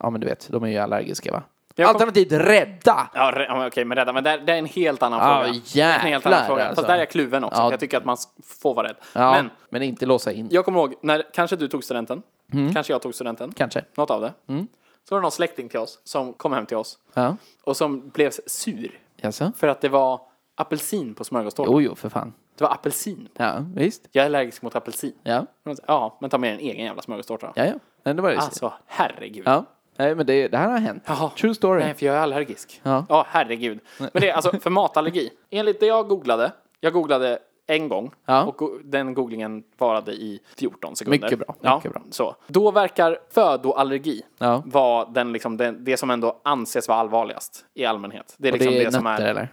[SPEAKER 2] ja men du vet, de är ju allergiska va?
[SPEAKER 1] Jag kom-
[SPEAKER 2] Alternativt rädda!
[SPEAKER 1] Ja, re- ja, men okej, men rädda. Men det, det är en helt annan
[SPEAKER 2] Ja,
[SPEAKER 1] fråga.
[SPEAKER 2] jävlar,
[SPEAKER 1] en helt annan fråga.
[SPEAKER 2] alltså.
[SPEAKER 1] Fast där är jag kluven också.
[SPEAKER 2] Ja.
[SPEAKER 1] för Jag tycker att man s- får vara rädd.
[SPEAKER 2] Ja, men,
[SPEAKER 1] Men
[SPEAKER 2] inte låsa in,
[SPEAKER 1] jag kommer ihåg, när kanske du tog studenten,
[SPEAKER 2] Mm.
[SPEAKER 1] kanske jag tog studenten,
[SPEAKER 2] kanske.
[SPEAKER 1] något av det.
[SPEAKER 2] Mm.
[SPEAKER 1] Så var det någon släkting till oss som kom hem till oss
[SPEAKER 2] Ja,
[SPEAKER 1] och som blev sur
[SPEAKER 2] jaså?
[SPEAKER 1] för att det var apelsin på smörgåstårtan.
[SPEAKER 2] Jo, jo för fan.
[SPEAKER 1] Det var apelsin.
[SPEAKER 2] Ja, visst.
[SPEAKER 1] Jag är allergisk mot apelsin.
[SPEAKER 2] Ja,
[SPEAKER 1] Ja, men ta med en egen jävla smörgåstårta.
[SPEAKER 2] ja, ja. Nej, det var det.
[SPEAKER 1] Alltså, herregud.
[SPEAKER 2] Ja, nej men det, det här har hänt.
[SPEAKER 1] Jaha.
[SPEAKER 2] True story.
[SPEAKER 1] Nej, för jag är allergisk.
[SPEAKER 2] Ja.
[SPEAKER 1] Ja, herregud. Men det är alltså för matallergi. Enligt det jag googlade, jag googlade en gång
[SPEAKER 2] Ja.
[SPEAKER 1] och go- den googlingen varade i 14 sekunder.
[SPEAKER 2] Mycket bra,
[SPEAKER 1] Ja,
[SPEAKER 2] mycket bra.
[SPEAKER 1] Så. Då verkar födoallergi
[SPEAKER 2] Ja.
[SPEAKER 1] vara den, liksom, den, det som ändå anses vara allvarligast i allmänhet. Det är,
[SPEAKER 2] Och
[SPEAKER 1] liksom
[SPEAKER 2] det är
[SPEAKER 1] som
[SPEAKER 2] nötter
[SPEAKER 1] är
[SPEAKER 2] eller?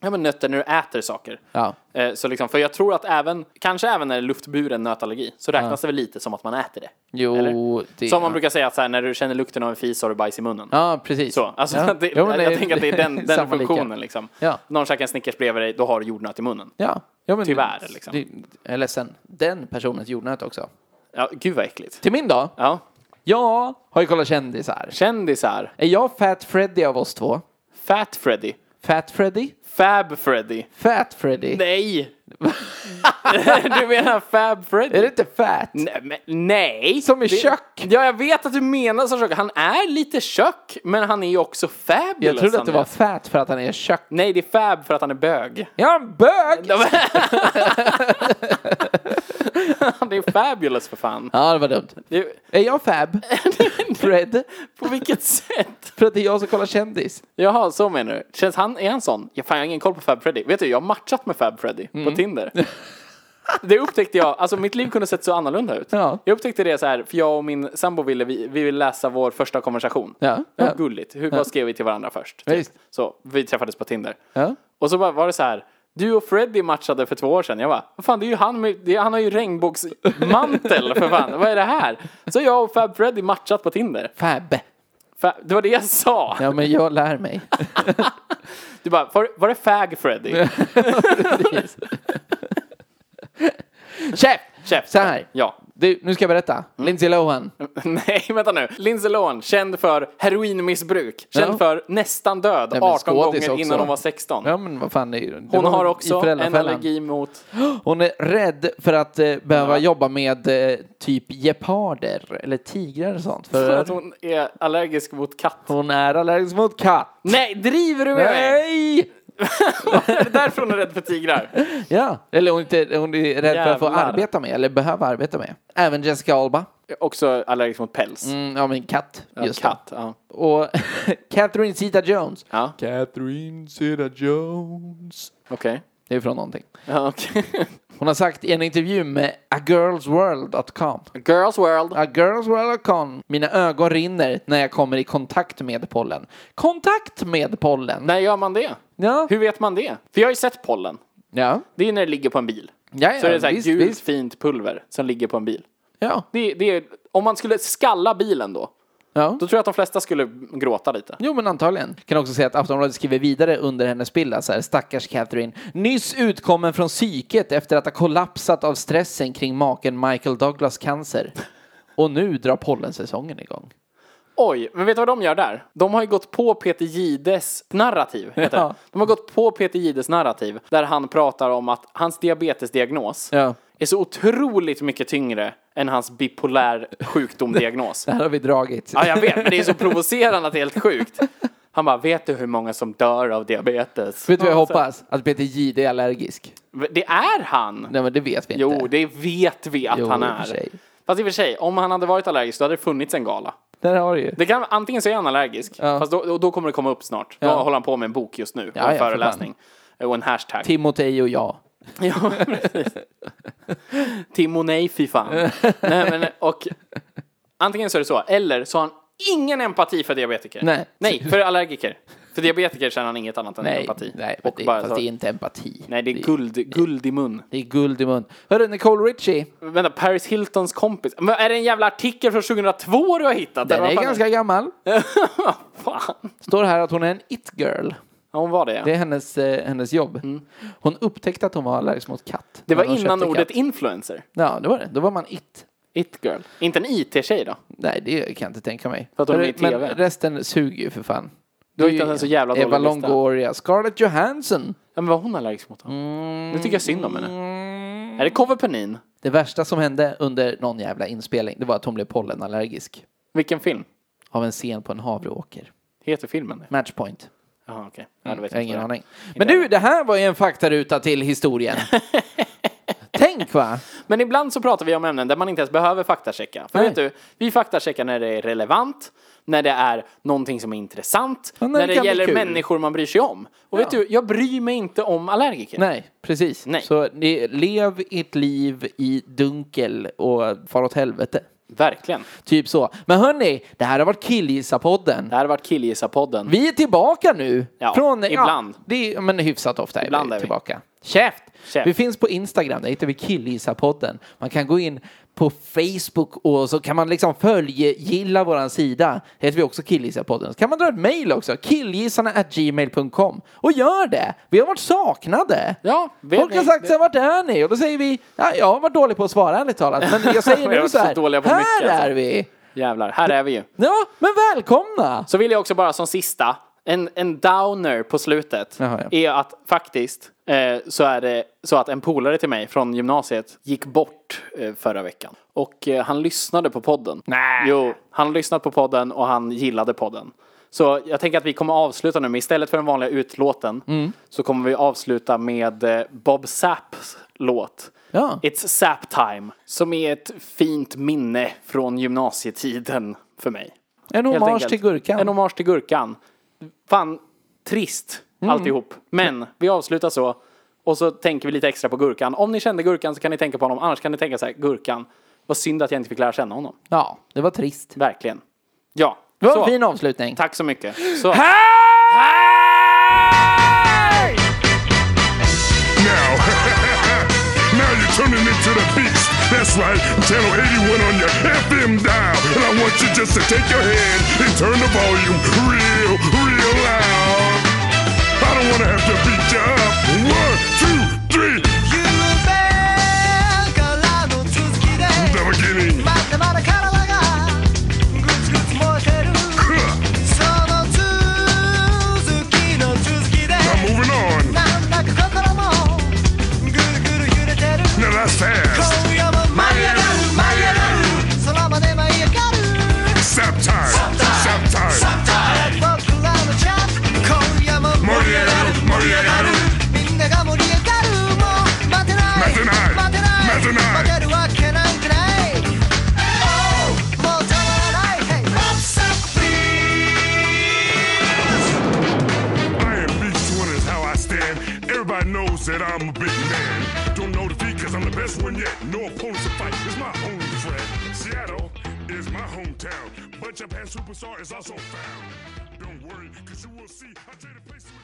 [SPEAKER 1] ja, men nötter när du äter saker.
[SPEAKER 2] Ja.
[SPEAKER 1] Eh, Så liksom, för jag tror att även, kanske även när det är luftburen nötallergi, så räknas det väl lite som att man äter det.
[SPEAKER 2] Jo,
[SPEAKER 1] Eller?
[SPEAKER 2] det...
[SPEAKER 1] Som man brukar säga att så här, när du känner lukten av en fis så har du bajs i munnen.
[SPEAKER 2] Ja, precis.
[SPEAKER 1] Så, alltså,
[SPEAKER 2] ja.
[SPEAKER 1] <laughs> det,
[SPEAKER 2] Jo, men
[SPEAKER 1] jag tänker att det
[SPEAKER 2] <laughs>
[SPEAKER 1] är den, den
[SPEAKER 2] samma lika.
[SPEAKER 1] funktionen liksom.
[SPEAKER 2] Ja.
[SPEAKER 1] Någon käkar en Snickers bredvid dig, då har du jordnöt i munnen.
[SPEAKER 2] Ja. ja men,
[SPEAKER 1] Tyvärr, liksom.
[SPEAKER 2] Det, jag är ledsen. Den personens jordnöt också.
[SPEAKER 1] Ja, gud vad äckligt.
[SPEAKER 2] Till min dag.
[SPEAKER 1] Ja.
[SPEAKER 2] Jag har ju kollat kändisar.
[SPEAKER 1] Kändisar.
[SPEAKER 2] Är jag Fat Freddy av oss två?
[SPEAKER 1] Fat Freddy.
[SPEAKER 2] Fat Freddy?
[SPEAKER 1] Fab Freddy.
[SPEAKER 2] Fat Freddy?
[SPEAKER 1] Nej! <laughs> du menar Fab Freddy?
[SPEAKER 2] Är det inte Fat?
[SPEAKER 1] Nej, men, nej!
[SPEAKER 2] Som i
[SPEAKER 1] Det-
[SPEAKER 2] kök.
[SPEAKER 1] Ja, jag vet att du menar som kök. Han är lite kök, men han är ju också fabulous.
[SPEAKER 2] Jag trodde att det var
[SPEAKER 1] Andreas.
[SPEAKER 2] Fat för att han är kök.
[SPEAKER 1] Nej, det är fab för att han är bög. <laughs>
[SPEAKER 2] Jag är en bög!
[SPEAKER 1] Han är fabulous för fan.
[SPEAKER 2] Ja, det var dumt.
[SPEAKER 1] Det,
[SPEAKER 2] Är jag
[SPEAKER 1] <laughs>
[SPEAKER 2] Fab? Fred?
[SPEAKER 1] på vilket sätt?
[SPEAKER 2] För att det är jag som kollar kändis.
[SPEAKER 1] Jaha, så menar du. Känns han, är han sån? Jag, fan, jag har ingen koll på Fab Freddy. Vet du, jag har matchat med Fab Freddy
[SPEAKER 2] Mm.
[SPEAKER 1] på Tinder.
[SPEAKER 2] <laughs>
[SPEAKER 1] Det upptäckte jag, alltså mitt liv kunde sett så annorlunda ut.
[SPEAKER 2] Ja.
[SPEAKER 1] Jag upptäckte det så här, för jag och min sambo ville, vi, vi ville läsa vår första konversation.
[SPEAKER 2] Ja,
[SPEAKER 1] Det var
[SPEAKER 2] ja.
[SPEAKER 1] gulligt. Hur, Vad skrev vi till varandra först?
[SPEAKER 2] Ja, visst.
[SPEAKER 1] Så, vi träffades på Tinder.
[SPEAKER 2] Ja.
[SPEAKER 1] Och så bara var det så här, du och Freddy matchade för två år sedan. Jag bara, vad fan det är ju han med, det, han har ju regnbågsmantel för fan, vad är det här? Så jag och Fab Freddy matchat på Tinder.
[SPEAKER 2] Fab.
[SPEAKER 1] Fa- det var det jag sa.
[SPEAKER 2] Ja, men jag lär mig.
[SPEAKER 1] Du bara, var, var det Fag Freddy?
[SPEAKER 2] Chef!
[SPEAKER 1] Chef.
[SPEAKER 2] Så här.
[SPEAKER 1] Ja. <laughs>
[SPEAKER 2] Du, nu ska jag berätta.
[SPEAKER 1] Mm.
[SPEAKER 2] Lindsay Lohan.
[SPEAKER 1] Nej, vänta nu. Lindsay Lohan, känd för heroinmissbruk. Känd
[SPEAKER 2] Ja.
[SPEAKER 1] för nästan död
[SPEAKER 2] men
[SPEAKER 1] 18 gånger
[SPEAKER 2] skådis också.
[SPEAKER 1] innan hon var 16.
[SPEAKER 2] Ja, men vad fan. Det, det
[SPEAKER 1] Hon
[SPEAKER 2] var
[SPEAKER 1] har
[SPEAKER 2] i
[SPEAKER 1] också en
[SPEAKER 2] Föräldrafällan. <gasps>
[SPEAKER 1] allergi mot...
[SPEAKER 2] Hon är rädd för att eh, behöva jobba med eh, typ geparder eller tigrar och sånt. För
[SPEAKER 1] För att
[SPEAKER 2] att
[SPEAKER 1] hon är allergisk
[SPEAKER 2] <laughs>
[SPEAKER 1] mot katt.
[SPEAKER 2] hon är allergisk mot katt.
[SPEAKER 1] Nej, driver du med <laughs> mig?
[SPEAKER 2] Nej!
[SPEAKER 1] är det därför hon är rädd för tigrar?
[SPEAKER 2] Ja, eller hon, inte, hon är rädd för att få
[SPEAKER 1] Jävlar.
[SPEAKER 2] arbeta med eller behöva arbeta med. Även Jessica Alba.
[SPEAKER 1] Också allergisk mot päls.
[SPEAKER 2] Mm, ja, men katt. Just det.
[SPEAKER 1] katt, ja.
[SPEAKER 2] Och <laughs> Catherine Zeta Jones.
[SPEAKER 1] ja.
[SPEAKER 3] Catherine Zeta-Jones.
[SPEAKER 1] Okej.
[SPEAKER 2] Det är från någonting.
[SPEAKER 1] Ja, okej. <laughs>
[SPEAKER 2] Hon har sagt i en intervju med agirlsworld.com.
[SPEAKER 1] Girls World.
[SPEAKER 2] A girls were a con. Mina ögon rinner när jag kommer i kontakt med pollen. Kontakt med pollen?
[SPEAKER 1] När gör man det?
[SPEAKER 2] Ja.
[SPEAKER 1] Hur vet man det? För jag har ju sett pollen.
[SPEAKER 2] Ja.
[SPEAKER 1] Det är när det ligger på en bil.
[SPEAKER 2] Ja, ja,
[SPEAKER 1] så är det så här
[SPEAKER 2] visst,
[SPEAKER 1] gult
[SPEAKER 2] visst.
[SPEAKER 1] fint pulver som ligger på en bil.
[SPEAKER 2] Ja.
[SPEAKER 1] Det, det är, om man skulle skalla bilen då,
[SPEAKER 2] ja.
[SPEAKER 1] då tror jag att de flesta skulle gråta lite.
[SPEAKER 2] Jo, men antagligen. Kan också säga att Aftonbladet skriver vidare under hennes bild här, så här, stackars Catherine. Nyss utkommen från psyket efter att ha kollapsat av stressen kring maken Michael Douglas cancer. Och nu drar pollensäsongen igång.
[SPEAKER 1] Oj, men vet du vad de gör där? De har ju gått på Peter Gides narrativ. Heter
[SPEAKER 2] Ja.
[SPEAKER 1] det. De har gått på Peter Gides narrativ där han pratar om att hans diabetesdiagnos
[SPEAKER 2] Ja.
[SPEAKER 1] är så otroligt mycket tyngre än hans bipolär
[SPEAKER 2] <laughs>
[SPEAKER 1] sjukdomdiagnos.
[SPEAKER 2] Här har vi dragit. <laughs>
[SPEAKER 1] Ja, jag vet, men det är så provocerande att det är helt sjukt. Han bara, vet du hur många som dör av diabetes?
[SPEAKER 2] Vet du vad jag
[SPEAKER 1] Och så-
[SPEAKER 2] hoppas? Att Peter Jihde är allergisk.
[SPEAKER 1] Det är han!
[SPEAKER 2] Nej men det vet vi
[SPEAKER 1] Jo,
[SPEAKER 2] inte.
[SPEAKER 1] det vet vi att
[SPEAKER 2] Jo,
[SPEAKER 1] han
[SPEAKER 2] i och
[SPEAKER 1] är.
[SPEAKER 2] för sig.
[SPEAKER 1] Fast i och för sig, om han hade varit allergisk då hade det funnits en gala.
[SPEAKER 2] Där har du ju.
[SPEAKER 1] Det kan, antingen så är han allergisk,
[SPEAKER 2] Ja.
[SPEAKER 1] fast då, och då kommer det komma upp snart. Då
[SPEAKER 2] Ja.
[SPEAKER 1] håller han på med en bok just nu,
[SPEAKER 2] Ja,
[SPEAKER 1] och en
[SPEAKER 2] ja, för
[SPEAKER 1] föreläsning. Och en hashtag.
[SPEAKER 2] Timotej och jag.
[SPEAKER 1] Ja, precis. Tim och nej, fy fan. Nej, men, och, antingen så är det så, eller så har han ingen empati för diabetiker.
[SPEAKER 2] Nej.
[SPEAKER 1] för allergiker. För diabetiker känner han inget annat än
[SPEAKER 2] Nej,
[SPEAKER 1] empati.
[SPEAKER 2] nej men
[SPEAKER 1] och
[SPEAKER 2] det,
[SPEAKER 1] bara
[SPEAKER 2] fast
[SPEAKER 1] så,
[SPEAKER 2] det är inte empati.
[SPEAKER 1] nej, det är guld, guld i mun.
[SPEAKER 2] Det är guld i mun. Hörru, Nicole Richie.
[SPEAKER 1] Vänta, Paris Hiltons kompis. Men är det en jävla artikel från 2002 du har hittat?
[SPEAKER 2] Den
[SPEAKER 1] eller vad
[SPEAKER 2] är
[SPEAKER 1] fan
[SPEAKER 2] ganska gammal.
[SPEAKER 1] <laughs> fan.
[SPEAKER 2] Står här att hon är en it-girl.
[SPEAKER 1] Ja, hon var det. ja.
[SPEAKER 2] Det
[SPEAKER 1] Det,
[SPEAKER 2] är hennes, eh, hennes jobb. Hon upptäckte att hon var allergisk mot katt.
[SPEAKER 1] Mm. var
[SPEAKER 2] Men hon
[SPEAKER 1] innan
[SPEAKER 2] köpte
[SPEAKER 1] ordet
[SPEAKER 2] katt.
[SPEAKER 1] influencer.
[SPEAKER 2] Ja, det var det. Då var man it.
[SPEAKER 1] It girl. Inte en IT-tjej då?
[SPEAKER 2] Nej, det kan jag inte tänka mig.
[SPEAKER 1] För att hon är
[SPEAKER 2] Hörru,
[SPEAKER 1] i TV.
[SPEAKER 2] Men resten suger ju för fan.
[SPEAKER 1] Du har hittat en så jävla dålig
[SPEAKER 2] Eva
[SPEAKER 1] lista.
[SPEAKER 2] Longoria, Scarlett Johansson.
[SPEAKER 1] Ja, men var hon allergisk mot honom? Mm. Nu tycker jag synd om henne. Är det Koverpenin?
[SPEAKER 2] Det värsta som hände under någon jävla inspelning, det var att hon blev pollenallergisk.
[SPEAKER 1] Vilken film?
[SPEAKER 2] Av en scen på en havreåker.
[SPEAKER 1] Heter filmen det?
[SPEAKER 2] Matchpoint.
[SPEAKER 1] Jaha, okej. Ja, då vet
[SPEAKER 2] Mm, Jag har ingen
[SPEAKER 1] inte vad det är.
[SPEAKER 2] aning. Men du, det här var ju en faktaruta till <laughs> historien. Tänk va?
[SPEAKER 1] Men ibland så pratar vi om ämnen där man inte ens behöver faktachecka. För
[SPEAKER 2] Nej.
[SPEAKER 1] vet du, vi faktacheckar när det är relevant, när det är någonting som är intressant,
[SPEAKER 2] Ja,
[SPEAKER 1] när,
[SPEAKER 2] när det
[SPEAKER 1] det
[SPEAKER 2] kan bli
[SPEAKER 1] gäller
[SPEAKER 2] kul.
[SPEAKER 1] människor man bryr sig om. Och vet du, jag bryr mig inte om allergiker.
[SPEAKER 2] Nej, precis.
[SPEAKER 1] Nej.
[SPEAKER 2] Så ni, lev ert liv i dunkel och far åt helvete.
[SPEAKER 1] Verkligen.
[SPEAKER 2] Typ så. Men hörni, det här har varit Killgissa-podden.
[SPEAKER 1] Det här har varit Killgissa-podden.
[SPEAKER 2] Vi är tillbaka nu.
[SPEAKER 1] Ja, ibland.
[SPEAKER 2] Ja, det är, men hyfsat ofta
[SPEAKER 1] Ibland
[SPEAKER 2] är vi
[SPEAKER 1] är vi.
[SPEAKER 2] tillbaka. Käft!
[SPEAKER 1] Käft.
[SPEAKER 2] Vi finns på Instagram, där hittar vi Killgissa-podden. Man kan gå in på Facebook och så kan man liksom följa, gilla våran sida. Det heter vi också Killgissa-podden. Så kan man dra ett mejl också, killgissarna.gmail.com. Och gör det! Vi har varit saknade.
[SPEAKER 1] Ja, vet
[SPEAKER 2] Folk har
[SPEAKER 1] ni-
[SPEAKER 2] sagt så här, vart är ni? Och då säger vi, ja, jag har varit dålig på att svara ärligt talat. Men
[SPEAKER 1] <laughs>
[SPEAKER 2] jag säger
[SPEAKER 1] Vi har
[SPEAKER 2] nu så här,
[SPEAKER 1] varit så dåliga på
[SPEAKER 2] här
[SPEAKER 1] mycket, alltså."
[SPEAKER 2] är vi!
[SPEAKER 1] Jävlar, här är vi ju.
[SPEAKER 2] Ja, men välkomna!
[SPEAKER 1] Så vill jag också bara som sista, en, en downer på slutet,
[SPEAKER 2] Jaha, ja.
[SPEAKER 1] är att faktiskt eh, så är det så att en polare till mig från gymnasiet gick bort eh, förra veckan. Och eh, han lyssnade på podden.
[SPEAKER 2] Nej.
[SPEAKER 1] Jo, han lyssnade på podden och han gillade podden. Så jag tänker att vi kommer avsluta nu med, istället för den vanliga utlåten,
[SPEAKER 2] Mm.
[SPEAKER 1] så kommer vi avsluta med eh, Bob Saps låt.
[SPEAKER 2] Ja.
[SPEAKER 1] It's Sap Time, som är ett fint minne från gymnasietiden för mig.
[SPEAKER 2] En
[SPEAKER 1] Helt
[SPEAKER 2] hommage
[SPEAKER 1] enkelt.
[SPEAKER 2] till gurkan.
[SPEAKER 1] En hommage till gurkan. Fan, trist
[SPEAKER 2] Mm.
[SPEAKER 1] alltihop. Men vi avslutar så. Och så tänker vi lite extra på gurkan. Om ni kände gurkan så kan ni tänka på honom. Annars kan ni tänka så här, gurkan. Vad synd att jag inte fick lära känna honom.
[SPEAKER 2] Ja, det var trist.
[SPEAKER 1] Verkligen. Ja.
[SPEAKER 2] Det var en
[SPEAKER 1] så.
[SPEAKER 2] fin avslutning.
[SPEAKER 1] Tack så mycket. Så.
[SPEAKER 4] now. now <laughs> you're turning into the beast. That's right, channel 81 on your FM dial. And I want you just to take your hand and turn the volume real, real loud. I don't want to have to beat you up. One, two, three.
[SPEAKER 5] 夢からの続きで
[SPEAKER 4] Never getting.
[SPEAKER 5] まだまだ体がグツグツ燃えてるその続きの続きで
[SPEAKER 4] I'm moving on.
[SPEAKER 5] なんだか心もぐるぐる揺れてる
[SPEAKER 4] Now that's fast.
[SPEAKER 5] 今夜も舞い上がる舞い上がる空まで舞い上がる
[SPEAKER 4] Sap time. Sap time.
[SPEAKER 5] 僕らのチャン今夜も盛
[SPEAKER 4] 盛り上がる盛り上がる
[SPEAKER 5] みんなが盛り上がるもう待てない
[SPEAKER 4] 待てない
[SPEAKER 5] 待
[SPEAKER 4] 待
[SPEAKER 5] て
[SPEAKER 4] てない
[SPEAKER 5] 待てるわけなんてないもうたまらない Hey What's up please
[SPEAKER 4] I am beast one is how I stand. Everybody knows that I'm a big man. Don't know defeat cause I'm the best one yet. No opponents to fight is my only friend. Seattle is my hometown, but Japan superstar is also found. Don't worry, cause you will see I trade a place with